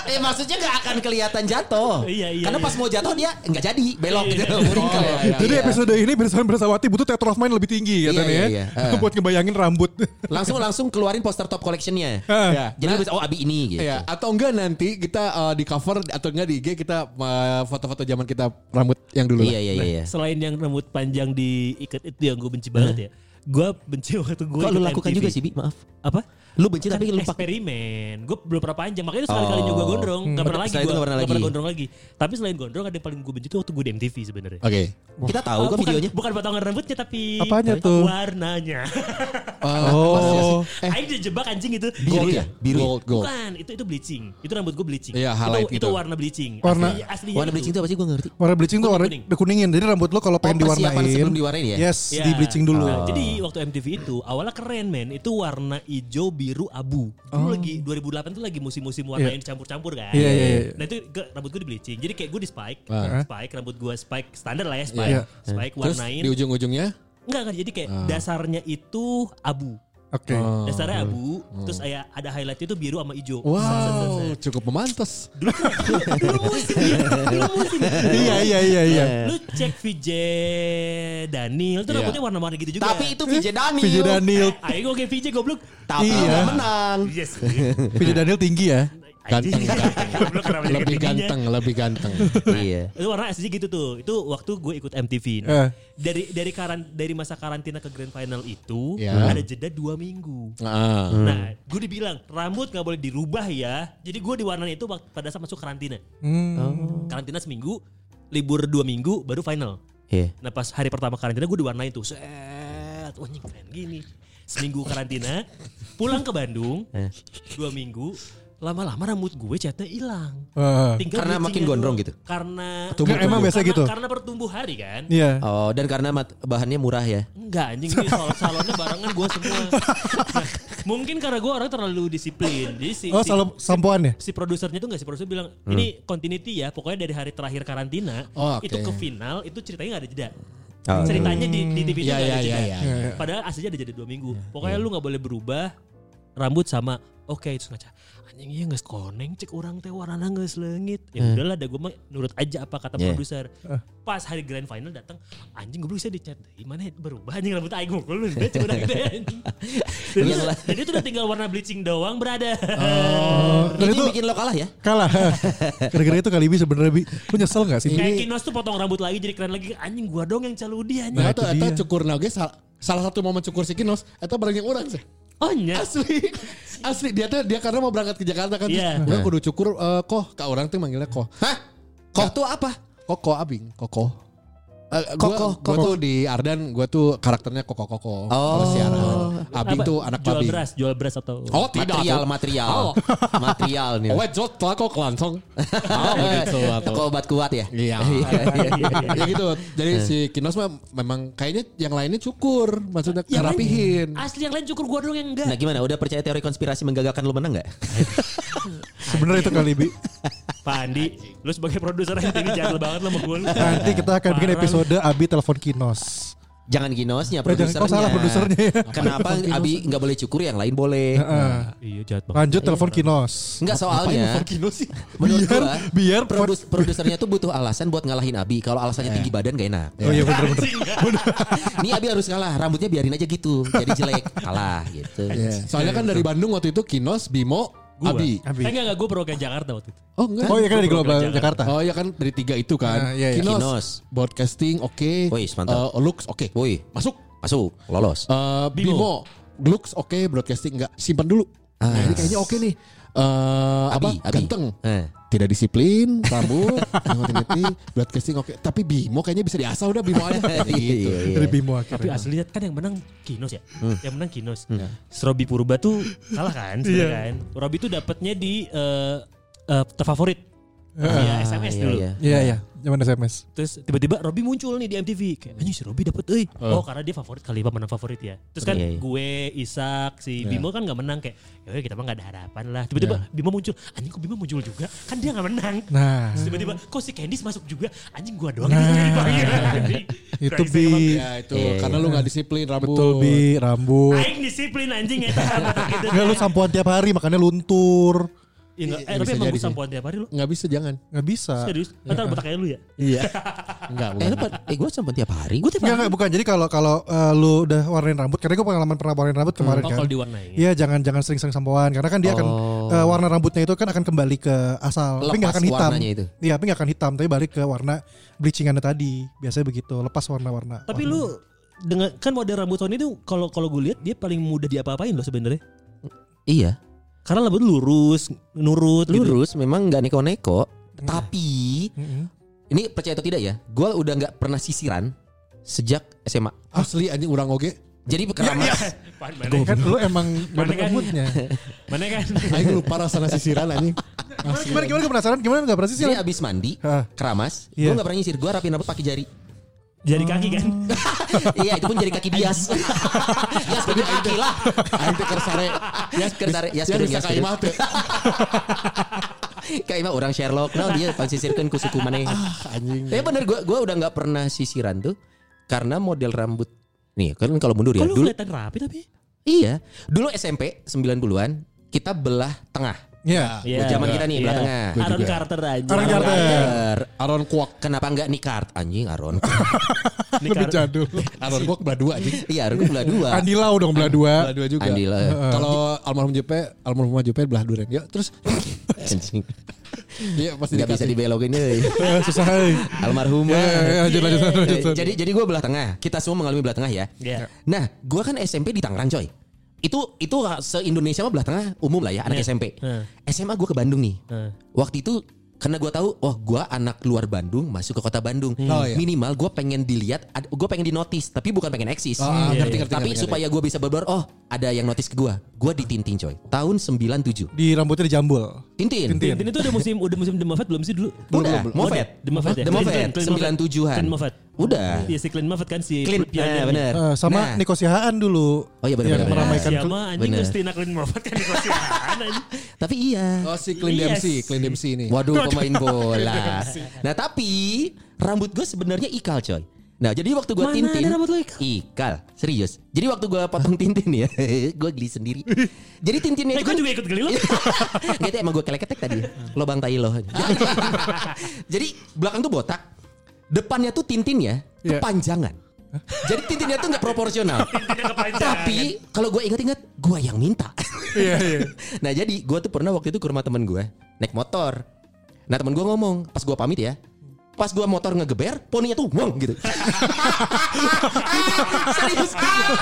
Speaker 3: Eh maksudnya nggak akan kelihatan jatuh.
Speaker 1: Iya, iya,
Speaker 3: Karena
Speaker 1: iya.
Speaker 3: pas mau jatuh dia nggak jadi, belok
Speaker 1: Iya,
Speaker 3: gitu.
Speaker 1: iya.
Speaker 3: muringkel.
Speaker 4: Oh, iya,
Speaker 2: Jadi episode ini Bersama Bersawati butuh teater of mind lebih tinggi
Speaker 3: Iya,
Speaker 2: katanya
Speaker 3: iya,
Speaker 2: ya.
Speaker 3: iya. Eh.
Speaker 2: Buat ngebayangin rambut.
Speaker 3: langsung langsung keluarin poster top collectionnya.
Speaker 2: Eh,
Speaker 4: Ya,
Speaker 3: Jadi lu bisa oh abi ini gitu.
Speaker 4: Iya, atau enggak nanti kita eh, di cover atau enggak di IG kita eh, foto-foto zaman kita rambut yang dulu.
Speaker 3: Iya
Speaker 4: lah.
Speaker 3: iya iya. iya.
Speaker 1: Selain yang rambut panjang diikat itu yang gue benci banget ya. Gue benci waktu gue
Speaker 3: Kok lu lakukan juga sih, Bi? Maaf.
Speaker 1: Apa?
Speaker 3: Lu benci
Speaker 1: Kan
Speaker 3: tapi lu pakai
Speaker 1: eksperimen. Gue belum pernah panjang. Makanya itu sekali-kali
Speaker 3: Oh.
Speaker 1: juga gondrong. Gak pernah lagi
Speaker 3: Setelah itu
Speaker 1: gue.
Speaker 3: nggak pernah lagi.
Speaker 1: gondrong lagi. Tapi selain gondrong ada yang paling gue benci itu waktu gue di MTV sebenarnya.
Speaker 4: Oke.
Speaker 3: Kita tahu
Speaker 1: Oh,
Speaker 3: kan
Speaker 1: bukan,
Speaker 3: videonya.
Speaker 1: Bukan potongan rambutnya tapi
Speaker 2: Apanya tuh?
Speaker 1: warnanya.
Speaker 2: Oh.
Speaker 4: Eh.
Speaker 1: Aing dijebak anjing itu.
Speaker 3: Biru
Speaker 1: Jadi-
Speaker 3: ya? Biru.
Speaker 4: Gold, gold.
Speaker 1: Bukan, itu itu bleaching. Itu rambut gue bleaching.
Speaker 4: Iya, highlight
Speaker 1: itu, itu
Speaker 4: gitu.
Speaker 1: warna bleaching.
Speaker 2: Warna-
Speaker 1: Asli- aslinya
Speaker 3: Warna bleaching itu apa sih gua nggak ngerti.
Speaker 2: Warna bleaching tuh warna
Speaker 1: Kuning-kuning.
Speaker 2: dikuningin. Jadi rambut lu kalau pengen
Speaker 3: Oh, persiapan
Speaker 2: diwarnain.
Speaker 3: sebelum diwarnain ya?
Speaker 2: Yes,
Speaker 1: Ya.
Speaker 2: di bleaching dulu.
Speaker 1: Nah, jadi waktu MTV itu awalnya keren men, itu warna hijau, biru, abu. Dulu lagi 2008 tuh lagi musim-musim warna
Speaker 2: Oh. Iya.
Speaker 1: yang campur-campur kan.
Speaker 2: Iya, iya, iya.
Speaker 1: Nah itu ke- rambut gue di bleaching. Jadi kayak gue di spike,
Speaker 4: Ah.
Speaker 1: spike rambut gue spike standar lah ya spike.
Speaker 2: Iya. Ah.
Speaker 1: Spike
Speaker 4: Terus
Speaker 1: warnain.
Speaker 4: di ujung-ujungnya
Speaker 1: Enggak enggak jadi kayak dasarnya itu abu.
Speaker 2: Oke.
Speaker 3: Oh.
Speaker 1: Dasarnya
Speaker 2: iya.
Speaker 1: abu,
Speaker 2: Oh.
Speaker 1: terus kayak ada highlightnya itu biru sama hijau.
Speaker 4: Wow, cukup memantas.
Speaker 1: Dulu musim ya, dulu musim.
Speaker 2: Iya iya iya iya.
Speaker 1: Nah, Lu cek VJ Daniel tuh rambutnya warna-warna gitu juga.
Speaker 3: Tapi itu VJ Daniel.
Speaker 2: Vijay Daniel,
Speaker 1: Ayo gue kayak VJ goblok.
Speaker 3: Tapi
Speaker 2: Iya.
Speaker 3: nggak menang.
Speaker 1: Yes.
Speaker 2: Vijay Daniel tinggi ya.
Speaker 4: Ganteng, ganteng.
Speaker 1: Goblok, kenapa jadi
Speaker 4: Iya. Lebih
Speaker 1: gedenya?
Speaker 4: ganteng, lebih ganteng.
Speaker 3: Iya.
Speaker 1: Itu warna asli gitu tuh. Itu waktu gue ikut MTV. Nah,
Speaker 2: Eh.
Speaker 1: Dari dari karan dari masa karantina ke grand final itu
Speaker 4: Ya.
Speaker 1: ada jeda dua minggu.
Speaker 4: Nah,
Speaker 1: Nah, gue dibilang rambut nggak boleh dirubah ya. Jadi gue diwarnain itu waktu- pada saat masuk karantina.
Speaker 4: Hmm.
Speaker 1: Karantina seminggu, libur dua minggu, baru final.
Speaker 3: Iya.
Speaker 1: Nah pas hari pertama karantina gue diwarnain tuh set, wah anjing keren gini. Seminggu karantina, pulang ke Bandung,
Speaker 3: Eh.
Speaker 1: dua minggu, lama-lama rambut gue catnya hilang.
Speaker 2: Heeh.
Speaker 1: Tinggal
Speaker 3: Karena
Speaker 1: bleachingnya
Speaker 3: makin gondrong
Speaker 1: doang.
Speaker 3: gitu?
Speaker 1: Karena
Speaker 2: Tumbuh- Nggak, emang
Speaker 1: Ah. karena-
Speaker 2: biasa gitu?
Speaker 1: Karena bertumbuh hari kan?
Speaker 2: Iya.
Speaker 3: Oh, dan karena mat- bahannya murah ya.
Speaker 1: Enggak anjing ini soal salonnya barengan gue semua. Nah, mungkin karena gue orang terlalu disiplin. Jadi si,
Speaker 2: Oh,
Speaker 1: si-
Speaker 2: salam sampoan ya?
Speaker 1: si produsernya tuh nggak si produser bilang ini continuity ya pokoknya dari hari terakhir karantina
Speaker 4: Hmm. Oh, oke.
Speaker 1: itu ke final itu ceritanya nggak ada jeda
Speaker 3: Oh,
Speaker 1: ceritanya di, di TV itu
Speaker 4: Iya,
Speaker 1: nggak ada
Speaker 4: iya,
Speaker 1: jeda
Speaker 4: iya,
Speaker 1: padahal aslinya ada jeda dua minggu pokoknya lu nggak boleh berubah rambut sama oke itu ngaca anjing iya nggak koneng cek orang teh warna nggak selengit ya
Speaker 4: Hmm.
Speaker 1: udahlah dah gue mah nurut aja apa
Speaker 4: Iya.
Speaker 1: kata
Speaker 3: Yeah.
Speaker 1: produser
Speaker 4: Eh.
Speaker 1: pas hari grand final datang anjing gue bisa dicat gimana ya, berubah anjing rambut aing mukul lu udah cek udah gede anjing. Jadi-
Speaker 3: Yang la-
Speaker 1: jadi itu udah tinggal warna bleaching doang berada
Speaker 4: Oh,
Speaker 3: Dan
Speaker 2: Dan
Speaker 3: itu,
Speaker 2: Oh, itu
Speaker 3: bikin lo kalah ya?
Speaker 2: kalah. Gara-gara itu kali bisa sebenarnya bi. Lu nyesel gak sih?
Speaker 1: Kayak Kinos tuh potong rambut lagi jadi keren lagi. Anjing gua dong yang caludi anjing.
Speaker 4: nah
Speaker 2: Nah,
Speaker 4: itu
Speaker 2: itu
Speaker 4: eta
Speaker 2: dia.
Speaker 4: cukur nage salah, salah satu momen cukur si Kinos, eta barang yang orang sih.
Speaker 1: Oh nya.
Speaker 4: Asli. Asli dia teh dia karena mau berangkat ke Jakarta kan.
Speaker 1: Iya.
Speaker 4: Udah kudu cukur eh, koh, ka orang tuh manggilnya koh. Nah,
Speaker 3: Hah? Kok tuh apa?
Speaker 4: Koko abing, koko. Eh,
Speaker 3: Kokoh,
Speaker 4: gua, gua
Speaker 3: kokoh.
Speaker 4: tuh di Ardan gua tuh karakternya koko koko.
Speaker 3: Oh.
Speaker 4: Abing
Speaker 1: Apa?
Speaker 4: tuh anak
Speaker 1: jual
Speaker 4: babi.
Speaker 1: beras, jual beras atau
Speaker 4: Oh tidak.
Speaker 3: material, Iya.
Speaker 4: tuh.
Speaker 3: material.
Speaker 4: Oh.
Speaker 3: Material nih.
Speaker 4: Oh, jod kok langsung. Oh, gitu. atau-
Speaker 3: Toko obat kuat ya?
Speaker 4: Iya. ya gitu. Jadi si Kinos mah memang kayaknya yang lainnya cukur, maksudnya
Speaker 1: Yang lain-
Speaker 4: rapihin.
Speaker 1: Asli yang lain cukur gua dong yang
Speaker 3: Nah
Speaker 1: enggak.
Speaker 3: gimana? Udah percaya teori konspirasi menggagalkan lu menang gak?
Speaker 2: Sebenarnya itu kali bi.
Speaker 1: Pak Andi, lu sebagai produser ini jadul banget lah sama gua. lu.
Speaker 2: Nanti kita akan bikin
Speaker 1: Parah
Speaker 2: episode Abi telepon Kinos.
Speaker 3: Jangan ginosnya,
Speaker 2: Eh,
Speaker 3: produsernya.
Speaker 2: jangan- oh, salah produsernya ya.
Speaker 3: Kenapa Abi nggak boleh cukur, yang lain boleh?
Speaker 2: Heeh.
Speaker 1: lu. Iya jahat banget.
Speaker 2: Nah, Lanjut telepon Kinos.
Speaker 3: Enggak soalnya.
Speaker 4: Kinos sih.
Speaker 3: Menurut
Speaker 2: Biar-
Speaker 3: gua,
Speaker 2: biar-
Speaker 3: produs- produsernya tuh butuh alasan buat ngalahin Abi. Kalau alasannya tinggi badan gak enak.
Speaker 2: Oh iya bener-bener.
Speaker 3: Ini Abi harus kalah, rambutnya biarin aja gitu. Jadi jelek, kalah gitu.
Speaker 2: Iya.
Speaker 4: Soalnya kan dari Bandung waktu itu Kinos, Bimo,
Speaker 1: Gua.
Speaker 4: Abi.
Speaker 1: Eh, enggak enggak gua perwakilan Jakarta waktu itu.
Speaker 4: Oh enggak.
Speaker 2: Oh iya kan di Global
Speaker 1: Jakarta.
Speaker 2: Jakarta.
Speaker 4: Oh iya kan dari tiga itu
Speaker 2: Ah,
Speaker 4: kan.
Speaker 2: iya, iya.
Speaker 4: Kinos,
Speaker 3: Kinos.
Speaker 4: broadcasting oke.
Speaker 3: Woi, mantap.
Speaker 4: Eh, looks oke.
Speaker 3: Woi,
Speaker 4: Masuk.
Speaker 3: masuk, lolos.
Speaker 4: Eh, Bimo.
Speaker 1: Bimo.
Speaker 4: looks oke, broadcasting enggak. Simpan dulu.
Speaker 2: Ah,
Speaker 4: Nah, ini kayaknya oke nih. Eh apa?
Speaker 3: Abi, Abi.
Speaker 4: Ganteng.
Speaker 3: Eh.
Speaker 4: Tidak disiplin, rambut, ngerti-ngerti, broadcasting oke. Tapi Bimo kayaknya bisa diasah udah Bimo aja. Kayak gitu.
Speaker 3: Iya, iya.
Speaker 2: Dari Bimo
Speaker 1: Tapi
Speaker 2: akhirnya.
Speaker 1: aslinya kan yang menang Kinos ya. Yang menang Kinos. Strobi Purba tuh kalah kan sebenarnya kan. Robi tuh dapatnya di eh, eh, terfavorit. Iya,
Speaker 3: Ah,
Speaker 1: SMS
Speaker 3: iya,
Speaker 1: dulu.
Speaker 3: iya.
Speaker 2: Iya iya, zaman SMS.
Speaker 1: Terus tiba-tiba Robi muncul nih di MTV. Kayak anjing si Robi dapet euy. Oh, karena dia favorit kali pemenang favorit ya. Terus kan
Speaker 3: Iya, iya.
Speaker 1: gue, Isak, si Bimo kan nggak menang kayak ya udah, kita mah nggak ada harapan lah. Tiba-tiba Bimo muncul. Anjing kok Bimo muncul juga? Kan dia nggak menang.
Speaker 2: Nah,
Speaker 1: Terus tiba-tiba kok si Candice masuk juga? Anjing gua doang yang dipanggil. Anjing.
Speaker 2: itu
Speaker 1: Crazy
Speaker 2: bi
Speaker 1: emang.
Speaker 4: Ya itu karena lu nggak disiplin rambut.
Speaker 2: iya, betul bi rambut.
Speaker 1: Aing disiplin anjing ya. Gitu.
Speaker 2: Enggak lu sampoan tiap hari makanya luntur.
Speaker 1: Ya, enggak.
Speaker 4: Iya,
Speaker 1: Eh, tapi
Speaker 4: bisa
Speaker 1: emang
Speaker 4: jadi
Speaker 1: gue
Speaker 4: sih.
Speaker 1: sampoan tiap hari lu.
Speaker 4: Nggak bisa jangan.
Speaker 2: Enggak bisa.
Speaker 1: Serius? Ntar botak kayak lu ya?
Speaker 3: Iya.
Speaker 4: Enggak,
Speaker 3: Eh, lu pa- eh gue sempat tiap hari. Gue tiap
Speaker 2: Enggak enggak bukan. Jadi kalau kalau eh, lu udah warnain rambut, karena gue pengalaman pernah warnain rambut kemarin
Speaker 1: Oh,
Speaker 2: kan.
Speaker 1: kalau diwarnain.
Speaker 2: Iya jangan jangan sering-sering sampoan karena kan dia akan
Speaker 3: Oh.
Speaker 2: eh, warna rambutnya itu kan akan kembali ke asal tapi nggak
Speaker 3: Lepas
Speaker 2: akan hitam.
Speaker 3: warnanya itu.
Speaker 2: Iya tapi nggak akan hitam tapi balik ke warna bleachingannya tadi biasanya begitu lepas warna-warna.
Speaker 1: Tapi lu dengan kan model rambut Tony itu kalau kalau gue lihat dia paling mudah diapa-apain loh sebenarnya.
Speaker 3: Iya.
Speaker 2: Gitu.
Speaker 1: Karena rambut lu lurus, nurut, gitu.
Speaker 3: Lurus memang nggak neko-neko. Tapi
Speaker 2: Iya. Mm-mm.
Speaker 3: ini percaya atau tidak ya? Gue udah nggak pernah sisiran sejak SMA.
Speaker 4: Asli anjing orang oge.
Speaker 3: Jadi
Speaker 2: Iya,
Speaker 3: keramas.
Speaker 1: Apaan,
Speaker 2: Tuh,
Speaker 1: Mana
Speaker 2: kan lu emang
Speaker 1: Mana
Speaker 2: beda
Speaker 1: kan?
Speaker 2: rambutnya.
Speaker 1: Mana kan?
Speaker 4: Aing lupa rasanya sisiran anjing.
Speaker 2: Gimana gimana gimana gua penasaran gimana nggak pernah sih
Speaker 3: Jadi abis mandi,
Speaker 2: Hah.
Speaker 3: keramas.
Speaker 2: Iya.
Speaker 3: Gue nggak pernah nyisir. Gue rapiin rambut pakai jari.
Speaker 1: Jari kaki kan?
Speaker 3: iya, itu pun jari kaki bias. bias pakai kaki lah.
Speaker 4: Aing teh kersare.
Speaker 3: Yas kersare, yas
Speaker 4: Ya
Speaker 3: kirim,
Speaker 4: bisa
Speaker 3: yas
Speaker 4: kayak
Speaker 3: kirim.
Speaker 4: mate.
Speaker 3: Kayak mah orang Sherlock, nah dia pansisirkan ku suku mana.
Speaker 4: Ah, Anjing.
Speaker 3: Tapi bener gue gue udah nggak pernah sisiran tuh karena model rambut. Nih kan kalau mundur ya
Speaker 1: Kalau
Speaker 3: dulu.
Speaker 1: kelihatan rapi tapi.
Speaker 3: Iya, dulu SMP 90-an kita belah tengah.
Speaker 2: Iya.
Speaker 1: Iya.
Speaker 3: zaman kita nih, belah tengah.
Speaker 4: Gua
Speaker 1: Aaron
Speaker 4: juga.
Speaker 1: Carter aja.
Speaker 2: Aaron Carter.
Speaker 3: Bener.
Speaker 4: Aron Kwok.
Speaker 3: Kenapa enggak nikart anjing Aron?
Speaker 1: Ini
Speaker 2: Lebih
Speaker 1: Car-
Speaker 2: jadul.
Speaker 4: Aron Kwok belah dua anjing.
Speaker 3: iya, aku belah dua.
Speaker 2: Andi Lau dong belah dua. ya.
Speaker 4: Belah dua juga.
Speaker 3: Andila.
Speaker 4: Kalau almarhum JP, almarhum JP belah duren. Yuk terus
Speaker 3: Anjing.
Speaker 4: Iya pasti
Speaker 3: Enggak bisa
Speaker 4: dikasih. Iya,
Speaker 3: dibelokin euy.
Speaker 2: Eh, Susah. eh.
Speaker 3: Almarhumah.
Speaker 2: Ya, ya, ya, lanjut, lanjut, lanjut, lanjut.
Speaker 3: Eh, Jadi jadi gue belah tengah. Kita semua mengalami belah tengah ya.
Speaker 1: Iya.
Speaker 3: Nah, gue kan SMP di Tangerang coy. Itu itu se Indonesia mah belah tengah umum lah ya anak
Speaker 1: Iya.
Speaker 3: SMP.
Speaker 1: Heeh.
Speaker 3: SMA gue ke Bandung nih.
Speaker 1: Heeh.
Speaker 3: Waktu itu karena gue tahu, wah gue anak luar Bandung masuk ke kota Bandung.
Speaker 4: Oh, iya.
Speaker 3: Minimal gue pengen dilihat, gue pengen di notice, tapi bukan pengen eksis.
Speaker 4: Oh, ah,
Speaker 3: Iya,
Speaker 4: ngerti,
Speaker 3: iya.
Speaker 4: ngerti,
Speaker 3: tapi
Speaker 4: ngerti,
Speaker 3: supaya gue bisa berbar, oh ada yang notice ke gue. Gue ditintin coy. Tahun 97.
Speaker 2: Di rambutnya dijambul.
Speaker 3: Tintin.
Speaker 2: Tintin.
Speaker 1: Dan itu udah musim udah musim The Moffat belum sih dulu?
Speaker 3: Udah,
Speaker 1: Belum, belum. The
Speaker 3: Moffat.
Speaker 1: Moffat. ya?
Speaker 3: The
Speaker 1: Clint-
Speaker 3: Moffat,
Speaker 1: Clint- Clint
Speaker 3: 97-an.
Speaker 1: Clint Moffat.
Speaker 3: Udah.
Speaker 1: Iya si Clint Moffat kan si
Speaker 3: Clean.
Speaker 1: pionirnya.
Speaker 3: Nah, bener.
Speaker 2: Eh, sama
Speaker 3: Nah.
Speaker 2: Niko Sihaan dulu.
Speaker 3: Oh, iya, benar,
Speaker 2: Yang
Speaker 3: benar, benar.
Speaker 2: meramaikan
Speaker 1: Siapa anjing
Speaker 3: Bener.
Speaker 1: Christina Clint Moffat kan dikasihan anjing.
Speaker 3: Tapi iya.
Speaker 4: Oh si Clint
Speaker 1: Iya
Speaker 4: Dempsey,
Speaker 1: sih.
Speaker 4: Clint Dempsey ini.
Speaker 3: Waduh pemain bola. nah tapi rambut gue sebenarnya ikal coy. Nah jadi waktu gue
Speaker 1: Mana
Speaker 3: tintin.
Speaker 1: ada rambut lu ikal?
Speaker 3: Ikal, serius. Jadi waktu gue potong tintin ya. gue geli sendiri. jadi tintinnya
Speaker 1: Eh
Speaker 3: itu
Speaker 1: gue
Speaker 3: kan.
Speaker 1: juga ikut geli lu.
Speaker 3: Gitu emang gue keleketek tadi. Lobang tai lo. jadi belakang tuh botak. Depannya tuh tintinnya
Speaker 2: Iya.
Speaker 3: kepanjangan. Jadi tintinnya tuh nggak proporsional. Tapi kalau gue ingat-ingat, gue yang minta.
Speaker 2: Iya, iya.
Speaker 3: Nah jadi gue tuh pernah waktu itu ke rumah temen gue naik motor. Nah temen gue ngomong pas gue pamit ya. Pas gue motor ngegeber, poninya tuh wong gitu. Serius,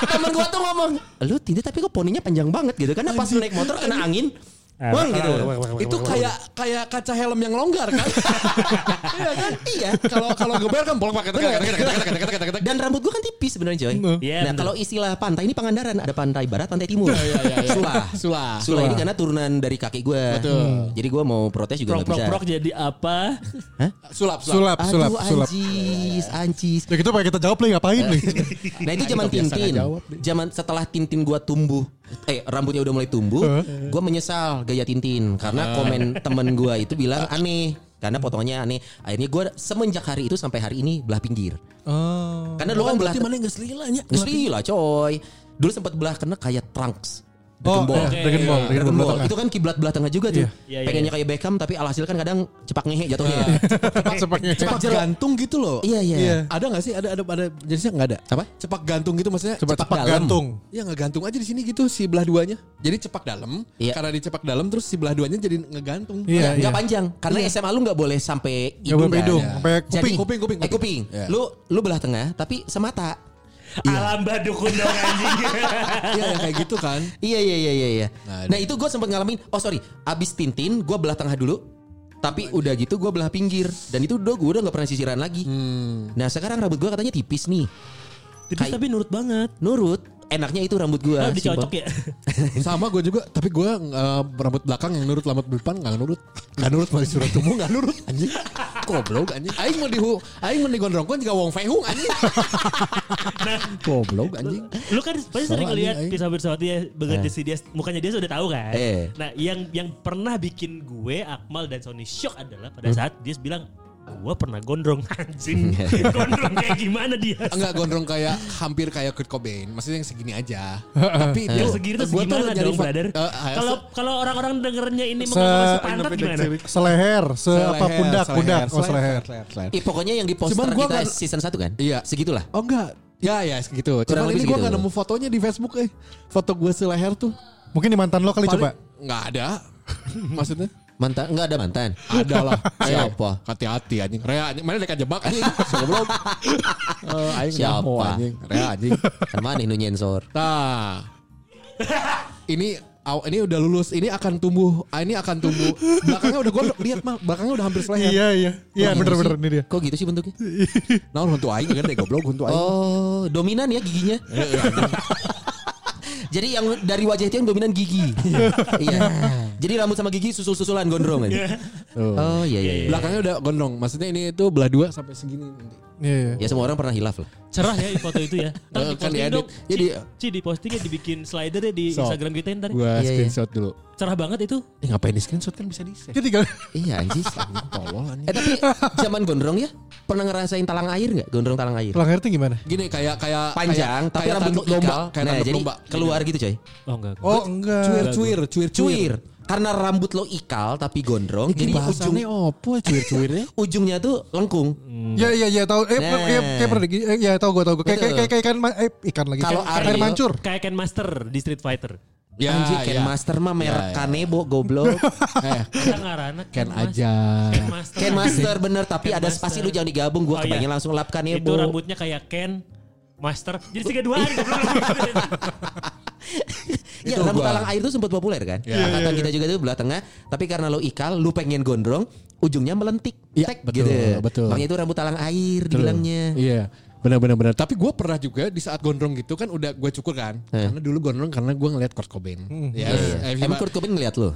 Speaker 3: temen gue tuh ngomong, lu tinju tapi kok poninya panjang banget gitu. Karena pas lu naik motor kena angin,
Speaker 2: Ah,
Speaker 3: wong gitu.
Speaker 4: Itu kayak kayak kaca helm yang longgar kan?
Speaker 3: Iya kan? Iya.
Speaker 4: Kalau kalau geber kan bolak pakai tekan tekan tekan tekan tekan tekan, tekan.
Speaker 3: Dan rambut gue kan tipis sebenarnya coy.
Speaker 1: Iya, bener.
Speaker 3: nah kalau istilah pantai ini Pangandaran ada pantai barat, pantai timur. Sulah.
Speaker 4: Sulah.
Speaker 3: Sulah ini karena turunan dari kakek gue. Jadi gue mau protes
Speaker 1: Prok
Speaker 3: juga nggak
Speaker 1: prok
Speaker 3: bisa.
Speaker 1: prok jadi apa?
Speaker 4: Sulap sulap.
Speaker 2: Sulap, sulap,
Speaker 3: Aduh
Speaker 2: sulap.
Speaker 3: anjis, anjis.
Speaker 2: Ya kita pakai kita jawab lagi ngapain
Speaker 4: Eh.
Speaker 2: nih?
Speaker 3: Nah itu zaman
Speaker 4: Ayo, biasa
Speaker 3: Tintin.
Speaker 4: nggak jawab deh.
Speaker 3: Zaman setelah Tintin gua tumbuh, eh rambutnya udah mulai tumbuh, gua menyesal gaya Tintin karena komen temen gua itu bilang aneh karena potongannya aneh. Akhirnya gua semenjak hari itu sampai hari ini belah pinggir.
Speaker 2: Oh.
Speaker 3: Karena dulu kan belah
Speaker 4: Berarti mana nggak selilanya?
Speaker 3: Nggak sih lah coy. Dulu sempat belah kena kayak trunks.
Speaker 2: Oh,
Speaker 3: Dragon Ball.
Speaker 2: iya, Dragon Ball, Dragon
Speaker 3: Dragon
Speaker 2: Ball
Speaker 3: Ball.
Speaker 2: tengah.
Speaker 3: Itu kan kiblat belah tengah juga tuh.
Speaker 2: Iya.
Speaker 1: Iya, iya,
Speaker 3: Pengennya kayak Beckham tapi alhasil kan kadang cepak ngehe jatuhnya.
Speaker 2: Cepatnya.
Speaker 4: Cepak gantung gitu loh.
Speaker 3: Iya iya.
Speaker 4: Ada nggak sih? Ada ada ada jenisnya nggak ada?
Speaker 3: Apa?
Speaker 4: Cepak gantung gitu maksudnya?
Speaker 2: Cepat cepat gantung.
Speaker 4: Ya ngegantung aja di sini gitu si belah duanya. Jadi cepak dalam,
Speaker 3: Iya.
Speaker 4: karena dicepak dalam terus si belah duanya jadi ngegantung.
Speaker 2: Iya,
Speaker 3: Nggak
Speaker 2: iya.
Speaker 3: panjang karena SMA lu nggak boleh sampai
Speaker 2: Nggak boleh
Speaker 3: kan?
Speaker 2: hidung, sampai
Speaker 3: Jadi-
Speaker 2: kuping.
Speaker 4: Kuping, kuping,
Speaker 3: Eh, kuping.
Speaker 4: Iya.
Speaker 3: Lu lu belah tengah tapi semata.
Speaker 1: Alam badukun dong anjing.
Speaker 4: Iya yang kayak gitu kan.
Speaker 3: Iya iya iya iya. iya.
Speaker 4: Nah,
Speaker 3: Nah itu gue sempat ngalamin. Oh sorry, abis Tintin gue belah tengah dulu. Tapi udah gitu gue belah pinggir dan itu udah gue udah nggak pernah sisiran lagi.
Speaker 2: Hmm.
Speaker 3: Nah sekarang rambut gue katanya tipis nih.
Speaker 1: Tipis tapi nurut banget.
Speaker 3: Nurut enaknya itu rambut gue.
Speaker 1: Nah, dicocok ya.
Speaker 4: Sama gue juga, tapi gue eh, rambut belakang yang nurut, rambut depan nggak nurut. Nggak nurut masih surat tubuh nggak nurut anjing. Goblok anjing. Aing mau dihu, aing mau digondrongkan juga Wong Fei Hung anjing. Goblok anjing.
Speaker 1: Lu kan pasti
Speaker 4: Sama
Speaker 1: sering
Speaker 4: anjing,
Speaker 1: lihat ya,
Speaker 4: anjing.
Speaker 1: Pisa Bersawati
Speaker 4: Eh.
Speaker 1: begitu si dia mukanya dia sudah tahu kan.
Speaker 3: Eh.
Speaker 1: Nah, yang yang pernah bikin gue Akmal dan Sony shock adalah pada
Speaker 4: Hmm.
Speaker 1: saat dia bilang gue pernah gondrong anjing.
Speaker 4: Hmm.
Speaker 1: gondrong kayak gimana dia?
Speaker 4: Enggak gondrong kayak hampir kayak Kurt Cobain. Maksudnya yang segini aja. Tapi itu
Speaker 1: Yang segini tuh
Speaker 4: Eh. gua
Speaker 1: gimana
Speaker 4: nyari
Speaker 1: dong,
Speaker 4: fa-
Speaker 1: brother?
Speaker 4: eh, eh,
Speaker 1: Kalau kalau orang-orang dengernya ini
Speaker 2: Se-
Speaker 1: mengalami sepantat gimana?
Speaker 2: Seleher, se apa
Speaker 4: Seleher,
Speaker 2: pundak,
Speaker 4: seleher,
Speaker 2: pundak, oh
Speaker 4: seleher,
Speaker 2: seleher.
Speaker 4: seleher, seleher.
Speaker 3: Eh, pokoknya yang di poster
Speaker 4: Cuman gua
Speaker 3: kita
Speaker 4: nggak-
Speaker 3: season 1 kan?
Speaker 4: Iya.
Speaker 3: Segitulah.
Speaker 4: Oh enggak. Ya ya segitu.
Speaker 3: Kurang
Speaker 4: Cuman
Speaker 3: lebih
Speaker 4: ini gue
Speaker 3: gitu.
Speaker 4: gak nemu fotonya di Facebook eh. Foto gue seleher tuh.
Speaker 2: Mungkin di mantan lo kali coba.
Speaker 4: Nggak ada. Maksudnya?
Speaker 3: Mantan nggak ada mantan.
Speaker 4: Ada lah.
Speaker 3: Siapa?
Speaker 4: Eh, Hati-hati anjing. Rea anjing. Mana dekat jebak anjing. Sebelum. Eh, aing
Speaker 3: Siapa?
Speaker 4: nyaho, anjing. Rea anjing.
Speaker 3: Kan Mana nu nyensor?
Speaker 4: Nah. Ini aw- ini udah lulus. Ini akan tumbuh. Ah, Ini akan tumbuh. Belakangnya udah gue lihat mah. Belakangnya udah hampir seleher.
Speaker 2: Iya, iya. Iya,
Speaker 3: Wah,
Speaker 2: bener-bener
Speaker 3: sih.
Speaker 2: ini dia.
Speaker 3: Kok gitu sih bentuknya?
Speaker 4: Nah untuk aing kan deh goblok untuk aing.
Speaker 3: Oh, dominan ya giginya.
Speaker 4: Iya,
Speaker 3: Jadi yang dari wajah itu yang dominan gigi. iya. Jadi rambut sama gigi susul-susulan gondrong aja.
Speaker 4: Tuh.
Speaker 3: Oh iya iya. iya.
Speaker 4: Belakangnya udah gondrong. Maksudnya ini itu belah dua sampai segini nanti.
Speaker 2: Iya, iya.
Speaker 3: Ya semua orang pernah hilaf lah.
Speaker 1: Cerah ya di foto itu ya.
Speaker 4: Eh,
Speaker 1: Ntar
Speaker 4: kan
Speaker 1: diposting
Speaker 4: diedit.
Speaker 1: dong.
Speaker 4: Jadi-
Speaker 1: Ci, Ci, dipostingnya dibikin slider ya di
Speaker 4: Sok.
Speaker 1: Instagram kita ntar.
Speaker 4: Gue
Speaker 3: Iya, Eh, iya.
Speaker 4: screenshot dulu.
Speaker 1: Cerah banget itu.
Speaker 4: Ini ngapain di screenshot kan bisa di save.
Speaker 2: Dia tinggal
Speaker 3: Iya anjing.
Speaker 4: Tolol anjing.
Speaker 3: eh tapi zaman gondrong ya pernah ngerasain talang air nggak? Gondrong talang air.
Speaker 2: Pelanggar itu gimana?
Speaker 4: Gini kayak kayak
Speaker 3: Panjang
Speaker 4: kayak,
Speaker 3: tapi
Speaker 4: kayak
Speaker 3: rambut
Speaker 4: tanduk domba,
Speaker 3: ikal.
Speaker 4: kayak
Speaker 3: nah,
Speaker 4: tanduk Iya.
Speaker 3: jadi
Speaker 4: domba.
Speaker 3: keluar gitu coy.
Speaker 1: Oh enggak. enggak.
Speaker 2: Oh, enggak.
Speaker 4: Cuir cuir cuir
Speaker 3: Cuir. Karena rambut lo ikal tapi gondrong.
Speaker 4: Jadi
Speaker 3: jadi ujung
Speaker 4: bahasannya opo cuir cuirnya?
Speaker 3: ujungnya tuh lengkung.
Speaker 2: Ya ya ya tahu eh
Speaker 3: Nah.
Speaker 2: kayak kayak pernah di- eh, ya tahu gua tahu gua kayak
Speaker 3: Betul.
Speaker 2: kayak kayak kayak ikan ma- eh, ikan lagi
Speaker 3: Kalau
Speaker 2: kayak,
Speaker 3: Ariel-
Speaker 2: air mancur.
Speaker 1: Kayak Ken Master di Street Fighter.
Speaker 4: Ya,
Speaker 3: Anjing Ken Master mah merek
Speaker 4: Ya, ya.
Speaker 3: Kanebo goblok.
Speaker 4: Eh,
Speaker 1: Kita ngarana
Speaker 4: Ken
Speaker 1: Mas-
Speaker 4: aja.
Speaker 1: Ken Master.
Speaker 3: Ken Master bener tapi
Speaker 1: Ken
Speaker 3: ada
Speaker 1: Master.
Speaker 3: spasi lu jangan digabung
Speaker 1: Oh,
Speaker 3: gua kebayang
Speaker 1: iya.
Speaker 3: langsung lap
Speaker 1: Itu
Speaker 3: Kanebo.
Speaker 1: rambutnya kayak Ken Master. Jadi tiga dua hari.
Speaker 3: Ya Iya,
Speaker 4: Itu
Speaker 3: rambut
Speaker 4: gua.
Speaker 3: talang air itu sempat populer kan.
Speaker 4: Ya.
Speaker 3: Angkatan kita juga tuh belah tengah. Tapi karena lo ikal, lu pengen gondrong, ujungnya melentik.
Speaker 4: Iya,
Speaker 3: Tek, gitu.
Speaker 4: betul, betul.
Speaker 3: Makanya itu rambut talang air dibilangnya.
Speaker 4: Iya. Benar benar benar. Tapi gue pernah juga di saat gondrong gitu kan udah gue cukur kan. Karena dulu gondrong karena gue ngeliat Kurt Cobain. Ya,
Speaker 3: Eh. Iya.
Speaker 4: eh,
Speaker 3: Emang Kurt Cobain ngeliat lo?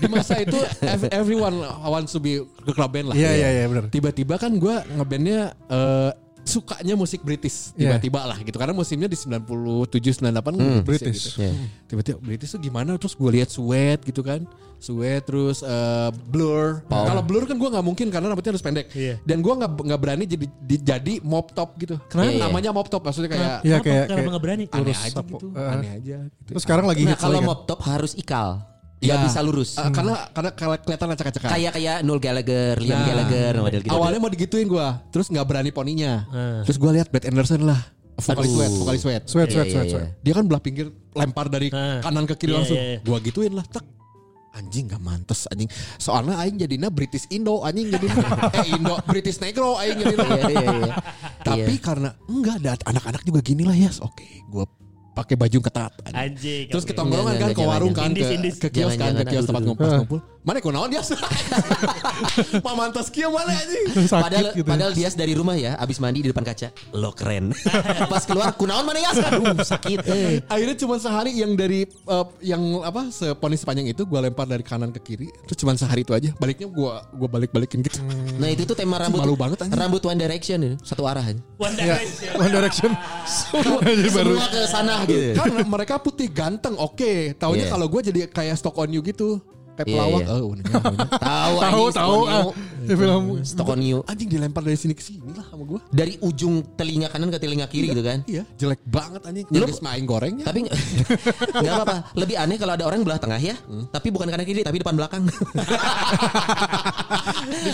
Speaker 4: di masa itu ev- everyone wants to be Kurt Cobain lah.
Speaker 2: Iya, iya, iya, benar.
Speaker 4: Tiba-tiba kan gue ngebandnya eh, sukanya musik British
Speaker 2: Iya.
Speaker 4: tiba-tiba lah gitu karena musimnya di 97 98
Speaker 2: Hmm, British.
Speaker 4: ya, gitu.
Speaker 3: Iya.
Speaker 4: Tiba-tiba British tuh gimana terus gue lihat Sweat gitu kan. Sweat terus eh, Blur. Kalau Blur kan gue nggak mungkin karena rambutnya harus pendek.
Speaker 1: Iya.
Speaker 4: Dan gue nggak nggak berani jadi di- jadi mop top gitu.
Speaker 3: Kenapa?
Speaker 4: Namanya mop top maksudnya kayak
Speaker 2: Iya,
Speaker 1: Kenapa-
Speaker 2: kayak-
Speaker 1: Kenapa
Speaker 2: kayak-
Speaker 1: nggak berani?
Speaker 4: aneh
Speaker 2: lurus
Speaker 4: aja
Speaker 2: apa-
Speaker 4: gitu.
Speaker 2: eh.
Speaker 4: Aneh aja gitu.
Speaker 2: Terus sekarang lagi
Speaker 3: Nah
Speaker 2: hits
Speaker 3: kalau
Speaker 2: lagi kan.
Speaker 3: mop top harus ikal. Gak
Speaker 4: Iya.
Speaker 3: bisa lurus.
Speaker 4: Eh, karena karena karena kelihatan acak-acakan.
Speaker 3: Kayak kayak Noel Gallagher, Liam
Speaker 4: Nah,
Speaker 3: Gallagher, model gitu.
Speaker 4: Awalnya mau digituin gue, terus nggak berani poninya. Terus gue lihat Brad Anderson lah, vokalis
Speaker 3: Aduh.
Speaker 4: sweat, vokalis sweat.
Speaker 2: Sweat
Speaker 3: Iya,
Speaker 2: sweat
Speaker 3: iya,
Speaker 2: sweat
Speaker 3: iya.
Speaker 2: sweat.
Speaker 4: Dia kan belah pinggir lempar dari
Speaker 1: Ah.
Speaker 4: kanan ke kiri
Speaker 1: Iya,
Speaker 4: langsung.
Speaker 1: iya, iya.
Speaker 4: Gue gituin lah, tek. Anjing gak mantes anjing. Soalnya aing jadinya British Indo, anjing jadinya eh Indo British Negro aing jadinya.
Speaker 3: Iya, iya, iya.
Speaker 4: Tapi karena enggak ada anak-anak juga gini lah ya. Oke, gue pakai baju ketat. anjing.
Speaker 1: Anjing.
Speaker 4: Terus ke
Speaker 1: oke.
Speaker 4: tongkrongan
Speaker 3: Jangan,
Speaker 4: kan, ke
Speaker 3: jangan,
Speaker 4: warung kan,
Speaker 1: jangan.
Speaker 4: ke,
Speaker 1: Indis, indis.
Speaker 4: ke kios
Speaker 3: Jangan,
Speaker 4: kan, ke
Speaker 3: jangan,
Speaker 4: kios
Speaker 3: aduh,
Speaker 4: tempat
Speaker 3: aduh.
Speaker 4: ngumpul-ngumpul. Mana kau naon dia? Pamantas kieu mana anjing?
Speaker 2: Sakit
Speaker 3: padahal,
Speaker 2: gitu.
Speaker 3: padahal dia dari rumah ya, abis mandi di depan kaca. Lo keren. Pas keluar, kunaon mana ya? Aduh sakit.
Speaker 4: Akhirnya cuma sehari yang dari eh, yang apa seponis sepanjang itu gue lempar dari kanan ke kiri. Terus cuma sehari itu aja. Baliknya gue gua balik-balikin gitu.
Speaker 3: Nah itu tuh tema rambut.
Speaker 4: Malu banget, anjing.
Speaker 3: Rambut One Direction ya, satu arah aja.
Speaker 1: One
Speaker 2: Ya,
Speaker 1: Direction.
Speaker 2: One Direction. Jadi baru.
Speaker 3: Semua ke sana gitu.
Speaker 4: Kan mereka putih ganteng, oke. Taunya
Speaker 3: Iya.
Speaker 4: kalau gue jadi kayak stock on you gitu. Kayak
Speaker 3: Iya,
Speaker 4: pelawak.
Speaker 3: iya.
Speaker 4: Oh, uniknya, uniknya.
Speaker 3: Tahu
Speaker 2: Tahu
Speaker 3: anjing,
Speaker 2: tahu
Speaker 3: Stokonio.
Speaker 2: ah. Di film
Speaker 3: Stock on you.
Speaker 4: Anjing dilempar dari sini ke sini lah sama gue.
Speaker 3: Dari ujung telinga kanan ke telinga kiri gitu kan.
Speaker 4: Iya, jelek banget anjing.
Speaker 3: Lu-
Speaker 4: Nyaris main gorengnya.
Speaker 3: Ya. Tapi nggak apa-apa. Lebih aneh kalau ada orang belah tengah ya.
Speaker 4: Hmm.
Speaker 3: Tapi bukan kanan kiri tapi depan belakang.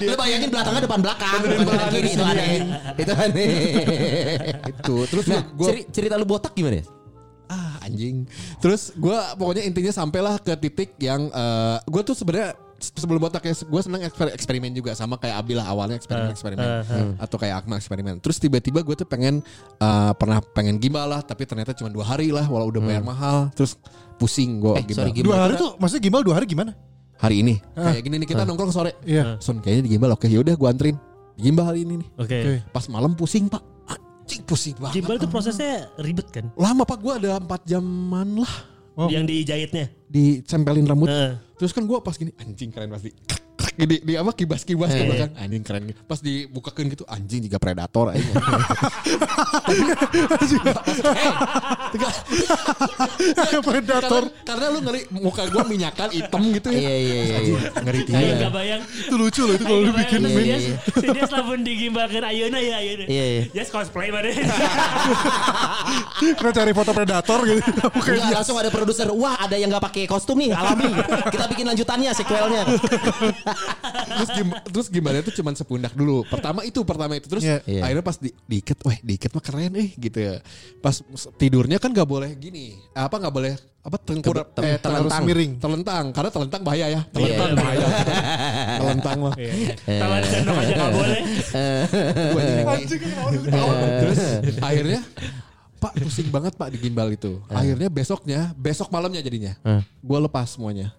Speaker 3: Lu bayangin belah tengah depan belakang. Bukan kanan kiri itu aneh. Itu aneh.
Speaker 4: itu. Terus
Speaker 3: Nah,
Speaker 4: gue
Speaker 3: ceri- cerita lu botak gimana ya?
Speaker 4: ah anjing terus gue pokoknya intinya sampailah ke titik yang gue eh, tuh sebenarnya sebelum botak ya gue seneng eksper- eksperimen juga sama kayak Abi lah awalnya eksperimen eksperimen
Speaker 1: eh, eh.
Speaker 4: Hmm. atau kayak Akma eksperimen terus tiba-tiba gue tuh pengen eh, pernah pengen gimbal lah tapi ternyata cuma dua hari lah walau udah bayar mahal terus pusing
Speaker 3: Eh,
Speaker 4: gue gimbal
Speaker 3: sorry, gimbal.
Speaker 2: Dua hari tuh maksudnya gimbal dua hari gimana?
Speaker 4: hari ini kayak gini nih kita nongkrong sore
Speaker 2: Iya.
Speaker 4: Son kayaknya di gimbal oke yaudah gue anterin Di gimbal hari ini nih
Speaker 1: Oke.
Speaker 2: Oke.
Speaker 4: pas malam pusing pak anjing pusing banget
Speaker 1: Gimbal tuh prosesnya ribet kan?
Speaker 4: lama pak gue ada empat jaman lah
Speaker 2: Oh.
Speaker 1: Yang dijahitnya.
Speaker 4: dicempelin rambut
Speaker 1: Heeh.
Speaker 4: Terus kan gue pas gini anjing keren pasti. Di, di apa kibas-kibas ke
Speaker 1: Eh.
Speaker 4: belakang anjing keren gitu. Pas dibukakan gitu anjing juga predator aja.
Speaker 2: Predator.
Speaker 4: karena, karena lu ngeri muka gue minyakan hitam gitu ya.
Speaker 3: Iya iya iya. iya.
Speaker 4: Ngeri
Speaker 1: Ayo
Speaker 4: tinggi.
Speaker 1: nggak bayang.
Speaker 2: Itu lucu loh itu kalau
Speaker 1: Ayo
Speaker 2: dibikin.
Speaker 1: bayang, Iya,
Speaker 3: Min.
Speaker 1: Dia, dia, dia selapun digimbalkan Ayona ya Ayona.
Speaker 3: Iya, iya.
Speaker 1: Just cosplay mana?
Speaker 2: Kita cari foto predator gitu. Oke.
Speaker 3: Enggak, langsung ada produser. Wah, ada yang nggak pakai kostum nih, alami. Kita bikin lanjutannya, sequelnya.
Speaker 4: terus gim terus gimana tuh cuman sepundak dulu. Pertama itu pertama itu terus
Speaker 2: Iya.
Speaker 3: Iya.
Speaker 4: akhirnya pas di, diikat, weh diikat mah keren eh gitu ya. Pas tidurnya kan nggak boleh gini. Apa nggak boleh apa tengkur
Speaker 3: Kebe- tem-
Speaker 4: eh,
Speaker 2: Harus
Speaker 3: telentang.
Speaker 2: miring.
Speaker 4: telentang karena telentang bahaya ya. Telentang
Speaker 1: Iya.
Speaker 4: bahaya. telentang mah.
Speaker 1: Taman sendok aja nggak boleh.
Speaker 4: Gua jadi kayak-
Speaker 2: Anjing kenapa lu
Speaker 3: Iya.
Speaker 2: ketawa?
Speaker 4: Oh, Terus akhirnya Pak pusing banget Pak di gimbal itu.
Speaker 3: Iya.
Speaker 4: Akhirnya besoknya, besok malamnya jadinya. Gua lepas semuanya.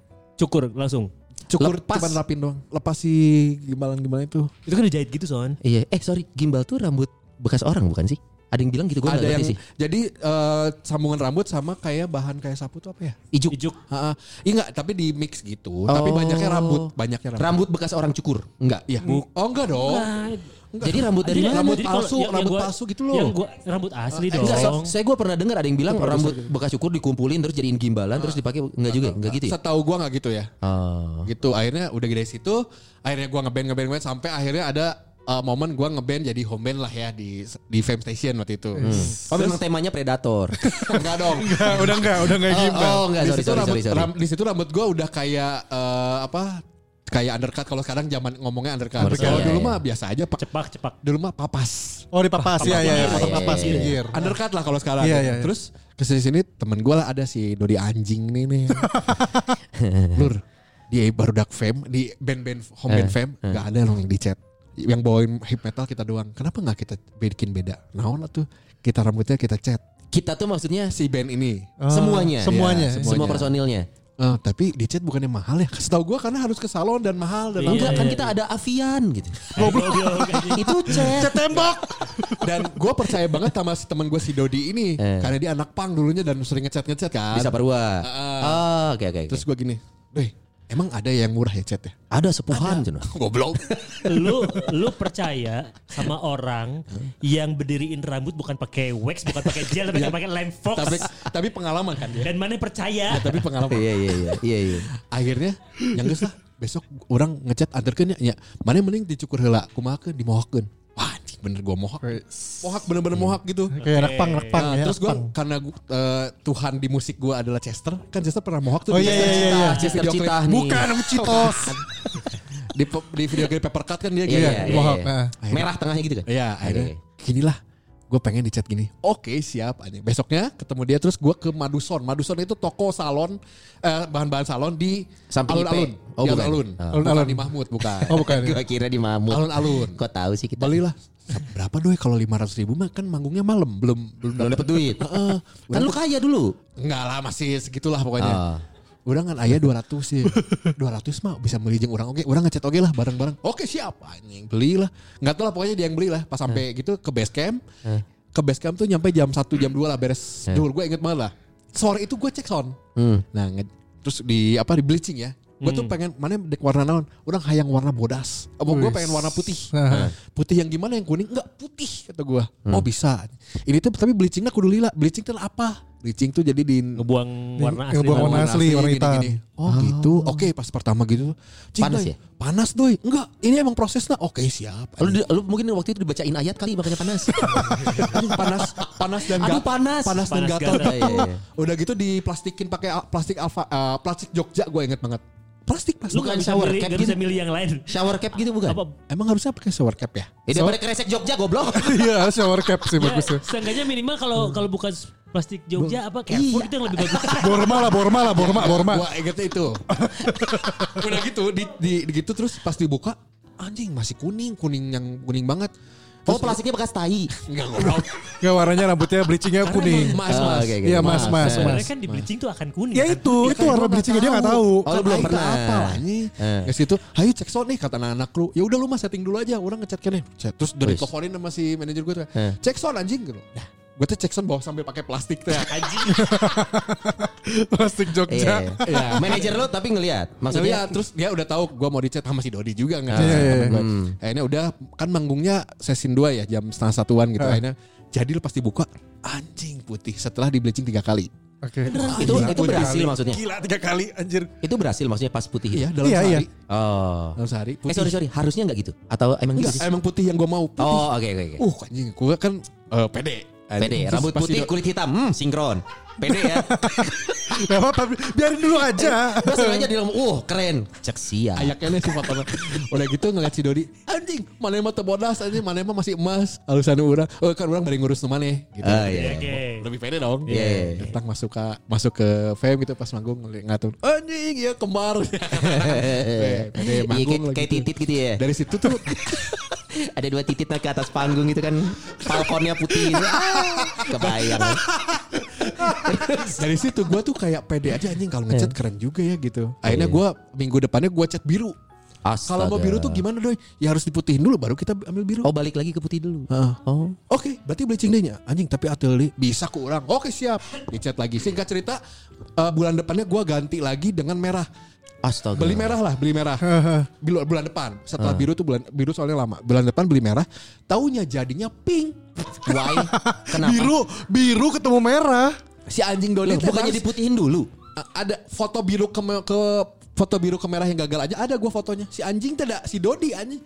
Speaker 1: Cukur langsung.
Speaker 4: Cukur
Speaker 3: Lepas?
Speaker 4: cuman lapin doang. Lepas si gimbalan-gimbalan itu.
Speaker 1: Itu kan dijahit gitu son.
Speaker 3: Iya, eh sorry, gimbal tuh rambut bekas orang bukan sih? Ada yang bilang gitu, gue nggak
Speaker 4: Ada yang
Speaker 3: ngerti sih.
Speaker 4: jadi eh, sambungan rambut sama kayak bahan kayak sapu tuh apa ya?
Speaker 3: Ijuk.
Speaker 1: Ijuk.
Speaker 4: Ha, iya enggak, tapi di mix gitu. Tapi
Speaker 3: Oh.
Speaker 4: banyaknya rambut, banyaknya rambut.
Speaker 3: Rambut bekas orang cukur. Enggak.
Speaker 4: Iya. Oh enggak dong.
Speaker 1: Nah,
Speaker 3: Jadi rambut dari
Speaker 1: Jadi-
Speaker 3: mana?
Speaker 4: Rambut
Speaker 1: jadi kalau
Speaker 4: palsu,
Speaker 1: yang- yang
Speaker 4: rambut
Speaker 1: gua-
Speaker 4: palsu gitu loh.
Speaker 1: Yang gua rambut asli dong.
Speaker 3: Enggak, so- saya gue pernah dengar ada yang bilang rambut bekas cukur dikumpulin terus jadiin gimbalan
Speaker 4: Ah.
Speaker 3: terus dipakai enggak juga, enggak gitu ya?
Speaker 4: Setahu gua enggak gitu ya.
Speaker 3: Oh.
Speaker 4: gitu akhirnya udah dari situ akhirnya gua ngeband ngeband ngeband sampai akhirnya ada uh, momen gua ngeband jadi home band lah ya di di Fame Station waktu itu
Speaker 3: Oh, memang temanya predator.
Speaker 4: enggak dong
Speaker 2: Enggak, Nah, udah enggak, udah enggak
Speaker 4: Eh,
Speaker 2: gimbal.
Speaker 3: Oh, enggak,
Speaker 4: di
Speaker 3: sorry,
Speaker 4: situ
Speaker 3: sorry,
Speaker 4: rambut
Speaker 3: sorry, sorry.
Speaker 4: ram- di situ rambut gua udah kayak eh, apa kayak undercut kalau sekarang zaman ngomongnya undercut
Speaker 3: Undercut,
Speaker 4: kalau
Speaker 3: iya,
Speaker 4: dulu
Speaker 3: iya.
Speaker 4: mah biasa aja pak
Speaker 1: Cepak cepak.
Speaker 4: dulu mah papas
Speaker 2: Oh di papas ya ya,
Speaker 3: Papas,
Speaker 2: foto
Speaker 3: iya,
Speaker 2: papas
Speaker 3: iya,
Speaker 2: pinggir.
Speaker 4: undercut lah kalau sekarang
Speaker 2: Iya,
Speaker 4: ya.
Speaker 2: iya, iya.
Speaker 4: terus kesini sini temen gua lah ada si Dodi anjing nih nih Lur di baru dark fame di band-band home
Speaker 2: Eh,
Speaker 4: band fame nggak ada dong yang dicat yang bawain hip metal kita doang kenapa nggak kita bikin beda naon lah tuh kita rambutnya kita cat
Speaker 3: Kita tuh maksudnya
Speaker 4: si band ini
Speaker 2: Ah,
Speaker 3: Semuanya.
Speaker 2: Semuanya.
Speaker 4: Iya,
Speaker 3: semua personilnya.
Speaker 4: Eh, tapi dicat bukannya mahal ya setahu gua karena harus ke salon dan mahal
Speaker 1: Iya,
Speaker 4: dan
Speaker 3: Enggak, kan
Speaker 1: iya,
Speaker 3: kita ada Avian gitu.
Speaker 1: Goblok.
Speaker 3: Itu chat.
Speaker 4: dan gua percaya banget sama si teman gua si Dodi ini
Speaker 2: Eh.
Speaker 4: karena dia anak pang dulunya dan sering ngecat ngecat kan
Speaker 3: Bisa parwa.
Speaker 4: Ah.
Speaker 3: Oh, oke oke. oke.
Speaker 4: terus
Speaker 2: Iya.
Speaker 4: gua gini Doi, emang ada yang murah ya cat ya
Speaker 3: ada sepuhan cuman.
Speaker 4: goblok
Speaker 1: lu lu percaya sama orang yang berdiriin rambut bukan pakai wax, bukan pakai gel, tapi pakai lem fox.
Speaker 4: tapi tapi pengalaman kan dia
Speaker 1: Dan mana percaya?
Speaker 4: tapi pengalaman
Speaker 3: Iya iya iya iya iya.
Speaker 4: akhirnya yang geus lah besok orang ngecat anterkeun ya, ya mana mending dicukur heula kumaha dimohokkeun wah anjing bener gua mohok mohok bener-bener mohok gitu
Speaker 2: Kayak anak pang, anak pang
Speaker 4: Nah,
Speaker 2: ya.
Speaker 4: terus
Speaker 2: anak
Speaker 4: gue
Speaker 2: punk.
Speaker 4: karena gua, eh, Tuhan di musik gue adalah Chester kan Chester pernah mohok tuh
Speaker 2: Oh,
Speaker 4: di
Speaker 2: iya,
Speaker 4: Chester
Speaker 2: iya, iya,
Speaker 4: Cita,
Speaker 2: iya.
Speaker 4: di
Speaker 3: Chester
Speaker 4: video
Speaker 3: Cita
Speaker 4: klip.
Speaker 3: nih.
Speaker 4: bukan
Speaker 2: Bukan Citos.
Speaker 4: di, pe- di video klip paper cut kan dia
Speaker 3: Iya
Speaker 4: gitu
Speaker 3: iya.
Speaker 4: ya
Speaker 3: iya,
Speaker 2: Mohawk,
Speaker 3: iya.
Speaker 2: ah.
Speaker 3: Merah tengahnya gitu kan.
Speaker 4: Iya, akhirnya
Speaker 3: Oke,
Speaker 4: gini lah gue pengen dicat gini oke siap anjing besoknya ketemu dia terus gue ke Maduson Maduson itu toko salon eh, bahan-bahan salon di
Speaker 3: Samping IP.
Speaker 4: alun-alun
Speaker 3: Oh,
Speaker 4: di
Speaker 3: bukan.
Speaker 4: alun-alun
Speaker 3: Ah.
Speaker 4: alun-alun di Mahmud bukan ya.
Speaker 2: Oh bukan.
Speaker 3: Gue kira di Mamut.
Speaker 4: Alun-alun.
Speaker 3: Kok tahu sih kita?
Speaker 4: belilah berapa doi kalau 500 ribu mah kan manggungnya malam belum belum
Speaker 3: Belum dapet duit. kan lu kaya dulu.
Speaker 4: Enggak lah masih segitulah pokoknya.
Speaker 3: Ah.
Speaker 4: Udah kan ayah 200 sih. 200 mah bisa beli jeung orang oke. Orang ngecat oke lah bareng-bareng. Oke siap Ah, anjing belilah. Enggak tahu lah pokoknya dia yang belilah pas sampai gitu ke base camp. Ke base camp tuh nyampe jam 1 jam 2 lah beres. Duhur gue inget banget lah. Sore itu gue cek sound. Nah, nge- terus di apa di bleaching ya. Gue tuh pengen mana dek warna naon? Orang hayang warna bodas. Apa gue pengen warna putih.
Speaker 2: Nah.
Speaker 4: Putih yang gimana yang kuning? Enggak putih kata gue.
Speaker 3: Hmm.
Speaker 4: Oh bisa. Ini tuh tapi bleachingnya kudu lila. Bleaching tuh apa? Bleaching tuh jadi di
Speaker 1: Ngebuang warna asli.
Speaker 2: Ngebuang
Speaker 1: rambut.
Speaker 2: warna asli, warna hitam.
Speaker 4: Oh, gitu. Oke, pas pertama gitu.
Speaker 3: Ah.
Speaker 4: Cing,
Speaker 3: Panas
Speaker 4: doi,
Speaker 3: ya?
Speaker 4: Panas doi. Enggak, ini emang prosesnya. Oke, siap.
Speaker 3: Lu, lu mungkin waktu itu dibacain ayat kali makanya panas.
Speaker 4: Aduh, panas, panas dan
Speaker 3: Aduh,
Speaker 4: gat-
Speaker 3: panas.
Speaker 4: panas, dan
Speaker 1: Panas
Speaker 4: gatal.
Speaker 3: gatal, iya, iya.
Speaker 4: Udah gitu diplastikin pakai al- plastik alfa, eh, plastik Jogja gue inget banget. Plastik plastik.
Speaker 1: Lu nggak bisa
Speaker 3: shower
Speaker 1: milih,
Speaker 3: cap
Speaker 1: nggak bisa
Speaker 3: gini.
Speaker 1: milih yang lain.
Speaker 3: Shower cap gitu bukan?
Speaker 1: Apa?
Speaker 4: Emang harusnya pakai shower cap ya?
Speaker 3: Ya daripada keresek Jogja goblok.
Speaker 2: Iya, shower cap sih
Speaker 1: Ya,
Speaker 2: bagusnya.
Speaker 1: seenggaknya minimal kalau kalau bukan plastik Jogja apa Carrefour itu yang lebih bagus.
Speaker 2: Borma lah, Borma lah, Borma, Borma.
Speaker 4: Iya, Gua ingetnya itu. Udah gitu di, di, di gitu terus pas dibuka anjing masih kuning, kuning yang kuning banget.
Speaker 3: Oh plastiknya bekas tai.
Speaker 4: Enggak ngobrol.
Speaker 2: Gak warnanya rambutnya bleachingnya kuning.
Speaker 4: Mas,
Speaker 3: Oh,
Speaker 4: mas.
Speaker 3: oke, oke.
Speaker 2: Iya, mas, mas,
Speaker 1: Sebenarnya
Speaker 2: mas.
Speaker 1: kan di bleaching tuh akan kuning.
Speaker 2: Ya
Speaker 1: kan?
Speaker 4: Oh, iya,
Speaker 2: itu, itu warna bleachingnya dia gak tahu.
Speaker 3: Oh, lu belum pernah.
Speaker 4: Apa lah ini?
Speaker 3: Eh.
Speaker 4: Ke situ, ayo cek sound nih kata anak-anak lu. Ya udah lu mah setting dulu aja, orang ngechat kene. Chat. Terus udah
Speaker 3: Wis.
Speaker 4: diteleponin sama si manajer gue tuh.
Speaker 3: Eh.
Speaker 4: Cek sound anjing gitu. Nah, gue tuh cek sound bawa sampai pakai plastik tuh. ya kan? Anjing.
Speaker 2: Plastik Jogja.
Speaker 3: Iya. Manajer lo tapi ngelihat.
Speaker 4: Maksudnya
Speaker 3: Maksudnya
Speaker 4: terus dia Ya udah tahu gue mau dicat sama si Dodi juga nggak?
Speaker 2: Iya, iya, iya.
Speaker 4: Hmm. Akhirnya udah kan manggungnya sesin dua ya jam setengah satuan gitu. Akhirnya jadi lu pasti buka anjing putih setelah di bleaching tiga kali.
Speaker 2: Oke.
Speaker 3: itu
Speaker 2: Gila,
Speaker 3: itu
Speaker 2: tiga
Speaker 3: berhasil
Speaker 2: kali.
Speaker 3: maksudnya.
Speaker 2: Gila tiga kali anjir.
Speaker 3: Itu berhasil maksudnya pas putih. itu.
Speaker 4: Iya dalam
Speaker 2: Iya,
Speaker 4: sehari.
Speaker 2: iya.
Speaker 3: Oh.
Speaker 4: Dalam sehari.
Speaker 3: Eh
Speaker 4: Putih.
Speaker 3: sorry sorry, harusnya nggak gitu? Atau emang
Speaker 4: Enggak,
Speaker 3: gitu sih?
Speaker 4: emang putih yang gue mau. Putih.
Speaker 3: Oh oke oke. oke.
Speaker 4: Uh anjing gue kan eh, pede.
Speaker 3: Pede,
Speaker 4: Terus
Speaker 3: rambut
Speaker 4: pas
Speaker 3: putih,
Speaker 4: di-
Speaker 3: kulit hitam, hmm, sinkron. Pede ya.
Speaker 2: Gak apa-apa, biarin dulu aja.
Speaker 3: Gue sengaja di dalam, uh keren. Cek sia.
Speaker 4: Ayaknya sih fotonya. Udah gitu ngeliat si Dodi, anjing, mana emang tebodas, anjing, mana emang masih emas. Alusan orang, oh kan orang dari ngurus teman Gitu.
Speaker 3: Ah,
Speaker 1: Oke,
Speaker 3: iya.
Speaker 1: Oke.
Speaker 4: lebih pede dong.
Speaker 3: Iya.
Speaker 4: Datang masuk ke masuk ke fame gitu pas manggung ngeliat ngatur. Anjing ya kembar.
Speaker 3: Iya,
Speaker 4: Pede
Speaker 3: kayak,
Speaker 4: manggung lagi
Speaker 3: kayak
Speaker 4: tuh.
Speaker 3: titit gitu ya.
Speaker 4: Dari situ tuh
Speaker 3: Ada dua titit nah, ke atas panggung gitu kan. Falconnya putih. Ah, Kebayang.
Speaker 4: dari situ gua tuh kayak pede aja anjing kalau
Speaker 3: Iya.
Speaker 4: ngechat keren juga ya gitu. Akhirnya gua minggu depannya gua cat biru.
Speaker 3: Astaga.
Speaker 4: Kalau mau biru tuh gimana doi? Ya harus diputihin dulu baru kita ambil biru.
Speaker 3: Oh balik lagi ke putih dulu.
Speaker 4: Heeh.
Speaker 3: Oh.
Speaker 4: Oke, berarti bleaching day-nya. Anjing, tapi ateli bisa kurang. Oke, siap. Dicat lagi. Singkat cerita, eh, bulan depannya gua ganti lagi dengan merah.
Speaker 3: Astaga.
Speaker 4: Beli merah lah, beli merah. Bil- bulan depan. Setelah biru tuh bulan biru soalnya lama. Bulan depan beli merah. Taunya jadinya pink.
Speaker 3: Why? Kenapa?
Speaker 2: Biru, biru ketemu merah.
Speaker 4: Si anjing Doni
Speaker 3: Loh,
Speaker 4: teh
Speaker 3: bukannya
Speaker 4: harus-
Speaker 3: diputihin dulu.
Speaker 4: A- ada foto biru ke, ke foto biru ke merah yang gagal aja ada gua fotonya. Si anjing tidak si Dodi anjing.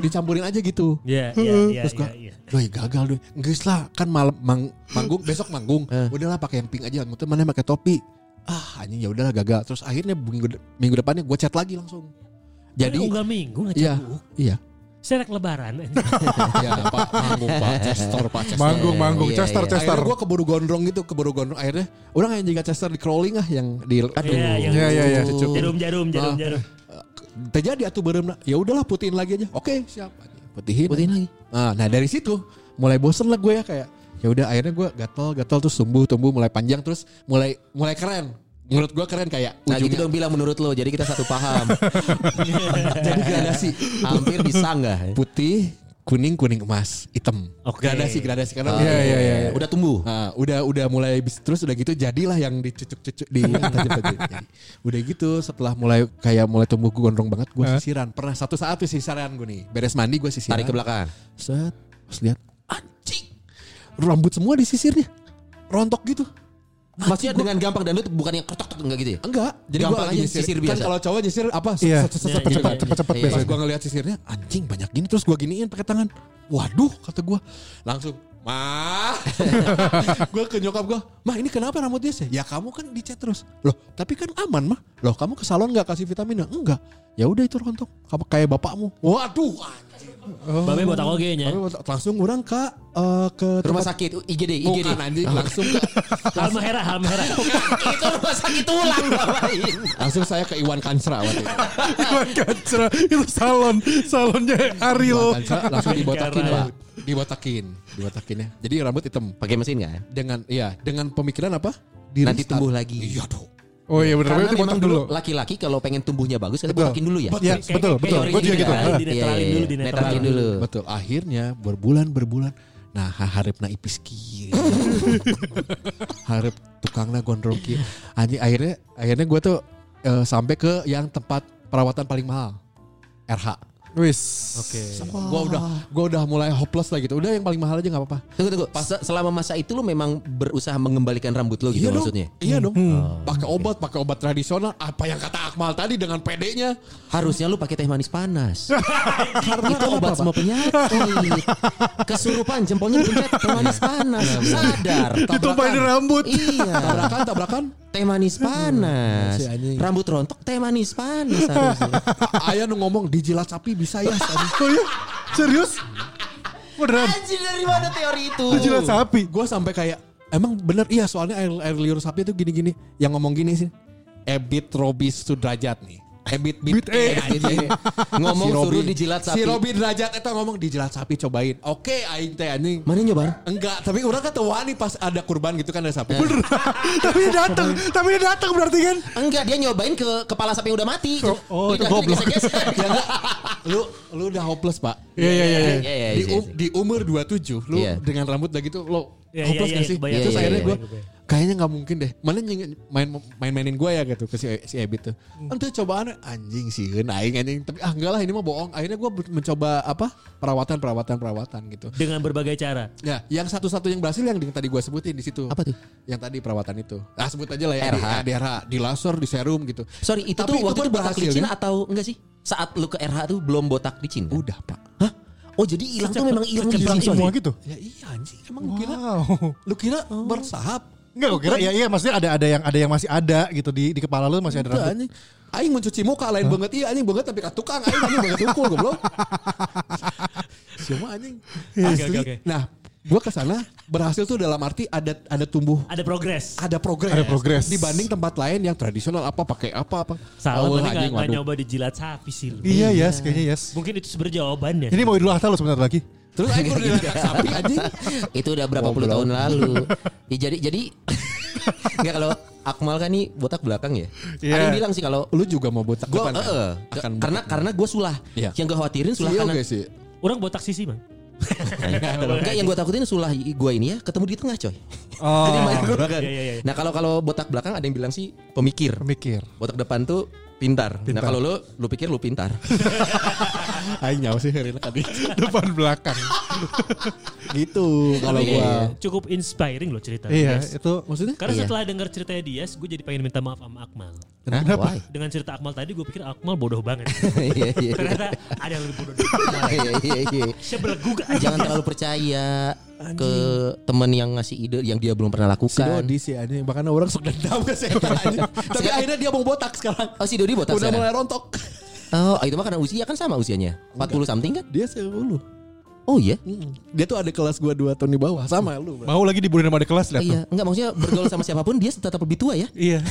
Speaker 4: Dicampurin aja gitu.
Speaker 1: Iya, iya, iya,
Speaker 4: Terus
Speaker 1: iya,
Speaker 4: gua,
Speaker 1: iya.
Speaker 4: doi ya gagal doi. Enggak lah, kan malam mang- manggung, besok manggung. udahlah pakai yang pink aja, muter mana pakai topi. Ah, anjing ya udahlah gagal. Terus akhirnya minggu, de- minggu depannya gue chat lagi langsung.
Speaker 1: Jadi
Speaker 4: Jadi
Speaker 1: unggal Kan minggu ngajak
Speaker 4: Iya,
Speaker 1: gua.
Speaker 4: iya.
Speaker 1: Serak lebaran.
Speaker 4: Iya, Pak, manggung Pak Chester, Pak Chester.
Speaker 2: Manggung, manggung,
Speaker 3: Iya,
Speaker 2: Chester,
Speaker 3: iya.
Speaker 2: Chester.
Speaker 4: Akhirnya gue keburu gondrong gitu, keburu gondrong. Akhirnya orang yang jaga Chester di crawling ah yang di
Speaker 3: Aduh.
Speaker 1: Iya, yang
Speaker 2: Iya, iya, iya.
Speaker 1: Jarum, jarum, jarum,
Speaker 4: Ah.
Speaker 1: jarum.
Speaker 4: terjadi atuh beureumna. Ya udahlah putihin lagi aja. Oke, siap. Putihin.
Speaker 3: Putihin lagi.
Speaker 4: Nah, nah dari situ mulai bosen lah gue ya kayak ya udah akhirnya gue gatel gatel terus tumbuh tumbuh mulai panjang terus mulai mulai keren menurut gue keren kayak
Speaker 3: Nah gitu
Speaker 4: ujungnya
Speaker 3: dong bilang menurut lo. Jadi kita satu paham.
Speaker 4: jadi gradasi Iya,
Speaker 3: Hampir bisa nggak?
Speaker 4: putih kuning kuning emas hitam
Speaker 1: Oke.
Speaker 4: gradasi
Speaker 3: Oh,
Speaker 4: gradasi karena
Speaker 2: Iya, iya, iya.
Speaker 3: Udah tumbuh.
Speaker 4: Nah, udah udah mulai bis- terus udah gitu jadilah yang dicucuk-cucuk di tajam-tajam. Jadi, udah gitu setelah mulai kayak mulai tumbuh gue gondrong banget gue sisiran pernah satu saat tuh sisiran gue nih beres mandi gue sisiran
Speaker 3: Tarik ke belakang.
Speaker 4: Set, pas lihat anjing. Rambut semua disisirnya. Rontok gitu.
Speaker 3: Maksudnya dengan gampang dan lu tuh bukan yang ketok enggak gitu ya?
Speaker 4: Enggak, jadi
Speaker 3: Gampang
Speaker 4: gua lagi
Speaker 3: aja
Speaker 4: nyisir.
Speaker 3: sisir
Speaker 4: Kan
Speaker 3: biasa.
Speaker 4: kalau cowok nyisir apa?
Speaker 2: Iya.
Speaker 1: Iya,
Speaker 4: Set, set, set, set,
Speaker 1: iya,
Speaker 4: cepat,
Speaker 1: iya.
Speaker 4: cepat, cepat.
Speaker 3: Iya,
Speaker 4: Pas
Speaker 3: iya.
Speaker 4: gua ngeliat sisirnya anjing banyak gini terus gua giniin pakai tangan. Waduh, kata gua. Langsung Mah, gue ke nyokap gue, mah ini kenapa rambut dia sih? Ya kamu kan dicat terus, loh. Tapi kan aman mah, loh. Kamu ke salon nggak kasih vitamin? Enggak. Ya udah itu rontok, kamu kayak bapakmu. Waduh, anjing.
Speaker 1: Oh. Babe botak oge nya.
Speaker 4: Tapi langsung orang ke eh, ke
Speaker 3: Rumah
Speaker 4: tempat-
Speaker 3: sakit uh, IGD, IGD.
Speaker 4: Bukan anjing langsung ke,
Speaker 1: Halmahera, Halmahera.
Speaker 3: itu rumah sakit tulang ngapain?
Speaker 4: langsung saya ke Iwan Kansra waktu itu.
Speaker 2: Iwan Kacra itu salon, salonnya Ariel.
Speaker 4: Iwan Kansra langsung dibotakin
Speaker 1: Karena-
Speaker 4: pak, dibotakin, dibotakin ya. Jadi rambut hitam
Speaker 3: Pakai mesin kan?
Speaker 4: dengan iya dengan pemikiran apa?
Speaker 3: Nanti tumbuh lagi.
Speaker 4: Iya dong.
Speaker 2: Oh iya benar
Speaker 3: Karena
Speaker 2: berarti
Speaker 3: memang
Speaker 2: botak
Speaker 3: dulu
Speaker 2: dulu.
Speaker 3: laki-laki kalau pengen tumbuhnya bagus, kita
Speaker 2: Betul.
Speaker 3: botakin dulu ya.
Speaker 2: Iya,
Speaker 1: Kayak-
Speaker 2: betul,
Speaker 1: kayak
Speaker 2: betul.
Speaker 1: teori
Speaker 2: Gue juga
Speaker 1: gitu.
Speaker 2: gitu.
Speaker 1: Dinetralin,
Speaker 2: Heeh.
Speaker 4: Iya,
Speaker 1: dinetralin dulu, dinetralin.
Speaker 3: Netralin dulu.
Speaker 4: Betul. Akhirnya berbulan berbulan. Nah harap na ipis kieu. harap tukangnya gondrong kieu. Anjing akhirnya akhirnya gue tuh eh, sampai ke yang tempat perawatan paling mahal. RH.
Speaker 2: Wis.
Speaker 4: Gua udah gua udah mulai hopeless lah gitu. Udah yang paling mahal aja nggak apa-apa.
Speaker 3: Tunggu tunggu. Pas selama masa itu lu memang berusaha mengembalikan rambut lo gitu maksudnya.
Speaker 4: dong. Iya dong. Pakai obat, pakai obat tradisional. Apa yang kata Akmal tadi dengan PD-nya?
Speaker 3: Harusnya lu pakai teh manis panas. itu obat semua penyakit. Kesurupan jempolnya dipencet teh manis panas. Sadar.
Speaker 2: Iya, Ditumpahin rambut.
Speaker 3: Iya.
Speaker 4: Tabrakan, tabrakan.
Speaker 3: Teh manis panas.
Speaker 4: Si anjing.
Speaker 3: Rambut rontok teh manis panas harusnya.
Speaker 4: Ayah nu ngomong dijilat sapi bisa ya.
Speaker 2: Oh iya, serius? Beneran?
Speaker 3: Anjir dari mana teori itu?
Speaker 2: Lu jilat sapi.
Speaker 4: Gue sampai kayak Emang bener iya soalnya air, air liur sapi itu gini-gini. Yang ngomong gini sih. Ebit Robi Sudrajat nih. Ebit Bit E anjing.
Speaker 3: Ngomong
Speaker 4: Si
Speaker 3: suruh
Speaker 4: Robi-
Speaker 3: dijilat
Speaker 4: Si
Speaker 3: sapi.
Speaker 4: Robi Sudrajat itu ngomong dijilat sapi cobain. Oke aing teh anjing.
Speaker 3: Mana nyoba?
Speaker 4: Enggak, tapi orang ketawa nih pas ada kurban gitu kan ada sapi.
Speaker 3: Eh.
Speaker 2: tapi dia datang, tapi dia datang berarti kan.
Speaker 3: Enggak, dia nyobain ke kepala sapi yang udah mati. gitu.
Speaker 2: oh, itu
Speaker 3: Lidahnya
Speaker 2: goblok.
Speaker 3: digesek-gesek.
Speaker 4: ya enggak. Lu lu udah hopeless, Pak.
Speaker 2: Iya iya iya.
Speaker 3: Iya, iya,
Speaker 4: di,
Speaker 3: iya,
Speaker 4: um- di umur 27 lu
Speaker 3: Iya.
Speaker 4: dengan rambut udah gitu lo
Speaker 1: Iya,
Speaker 4: hopeless
Speaker 1: iya,
Speaker 4: gak
Speaker 1: iya,
Speaker 4: sih?
Speaker 1: kebayang,
Speaker 4: Terus
Speaker 3: iya,
Speaker 4: akhirnya
Speaker 3: iya,
Speaker 4: gue
Speaker 1: iya, kebayang.
Speaker 4: kayaknya nggak mungkin deh. Mana nyeng- main main mainin gue ya gitu ke si, si Ebit tuh. Entar cobaan anjing sih, aing anjing. Tapi ah enggak lah ini mah bohong. Akhirnya gue mencoba apa perawatan perawatan perawatan gitu.
Speaker 1: dengan berbagai cara.
Speaker 4: Ya, yang satu-satu yang berhasil yang tadi gua sebutin di situ.
Speaker 3: Apa tuh?
Speaker 4: Yang tadi perawatan itu. Ah, sebut aja lah ya.
Speaker 3: RH.
Speaker 4: Di, di RH, di laser, di serum gitu.
Speaker 3: Sorry, itu tuh
Speaker 4: Tapi
Speaker 3: waktu
Speaker 4: kan
Speaker 3: itu botak
Speaker 4: berhasil,
Speaker 3: licin
Speaker 4: ya?
Speaker 3: atau enggak sih? Saat lu ke RH tuh belum botak licin. kan?
Speaker 4: Udah, Pak.
Speaker 3: Oh, jadi hilang tuh
Speaker 1: Secepat-
Speaker 3: memang hilang
Speaker 1: secepat
Speaker 3: licin.
Speaker 2: Berang semua gitu.
Speaker 4: Ya iya anjing, emang lu kira
Speaker 2: Wow.
Speaker 4: lu kira bersahab?
Speaker 2: Enggak, gue kira ya iya maksudnya ada ada yang ada yang masih ada gitu di di kepala lu masih ada
Speaker 4: Udah,
Speaker 2: rambut.
Speaker 4: anjing. Aing mencuci muka lain banget iya anjing banget tapi ke tukang aing anjing banget tukul goblok. Cuma anjing.
Speaker 1: Oke, oke,
Speaker 4: Asli.
Speaker 1: oke.
Speaker 4: Nah, gua ke sana berhasil tuh dalam arti ada ada tumbuh
Speaker 1: Ada progres.
Speaker 4: ada progres.
Speaker 2: Ada progres.
Speaker 4: Dibanding tempat lain yang tradisional apa pakai apa apa.
Speaker 1: Salah
Speaker 4: Awal
Speaker 1: mana nggak
Speaker 4: anjing,
Speaker 1: nggak
Speaker 4: waduh.
Speaker 1: nyoba dijilat sapi sih lu.
Speaker 2: Iya, yes, kayaknya yes.
Speaker 1: Mungkin itu sebenarnya jawabannya.
Speaker 2: Ini mau Idul Adha lu sebentar lagi.
Speaker 4: Terus aing kudu
Speaker 3: Iya,
Speaker 4: dilihat sapi anjing.
Speaker 3: itu udah berapa puluh tahun
Speaker 4: Goblok.
Speaker 3: lalu. Ya, jadi jadi enggak kalau Akmal kan nih botak belakang ya.
Speaker 2: Iya.
Speaker 3: Ada yang bilang sih kalau
Speaker 4: Lu juga mau botak
Speaker 3: gue
Speaker 4: depan kan? Akan
Speaker 3: karena
Speaker 4: botak.
Speaker 3: karena gue sulah.
Speaker 4: Iya.
Speaker 3: Yang gue khawatirin sulah
Speaker 4: Iya,
Speaker 3: kanan.
Speaker 4: oke sih.
Speaker 1: Orang botak sisi bang.
Speaker 3: Enggak yang gue takutin sulah gue ini ya ketemu di tengah coy. Jadi
Speaker 2: Oh,
Speaker 3: main ke belakang.
Speaker 1: Iya, iya, iya.
Speaker 3: Nah kalau kalau botak belakang ada yang bilang sih pemikir.
Speaker 2: mikir.
Speaker 3: Botak depan tuh pintar. Nah kalau lu lu pikir lu pintar.
Speaker 4: Aing nyawa sih hari ini tadi.
Speaker 2: Depan belakang.
Speaker 4: Gitu kalau
Speaker 1: Tapi
Speaker 4: gua.
Speaker 1: cukup inspiring loh cerita.
Speaker 2: Iya,
Speaker 1: Dias.
Speaker 2: itu
Speaker 4: Maksudnya?
Speaker 1: Karena
Speaker 3: Iya.
Speaker 1: setelah dengar ceritanya Dias, gue jadi pengen minta maaf sama Akmal.
Speaker 3: Kenapa?
Speaker 1: Dengan cerita Akmal tadi, gue pikir Akmal bodoh banget.
Speaker 3: Iya iya.
Speaker 1: Ternyata ada yang lebih bodoh dari Akmal.
Speaker 3: Iya, iya, iya.
Speaker 1: Sebelgug aja.
Speaker 3: Jangan terlalu percaya ke temen yang ngasih ide yang dia belum pernah
Speaker 4: Si
Speaker 3: lakukan.
Speaker 4: Dodi sih anjing Bahkan orang sok dendam ke saya anjing. Tapi akhirnya dia mau botak sekarang
Speaker 3: Oh si Dodi botak
Speaker 4: Udah
Speaker 3: sekarang?
Speaker 4: mulai rontok
Speaker 3: Oh itu mah karena usia kan sama usianya 40 something kan?
Speaker 4: Dia sepuluh
Speaker 3: Oh iya
Speaker 4: Dia tuh ada kelas gua 2 tahun di bawah Sama lu bro.
Speaker 2: mau lagi dibully sama adik kelas lihat tuh.
Speaker 3: Iya Enggak maksudnya bergaul sama siapapun Dia tetap lebih tua ya
Speaker 2: Iya.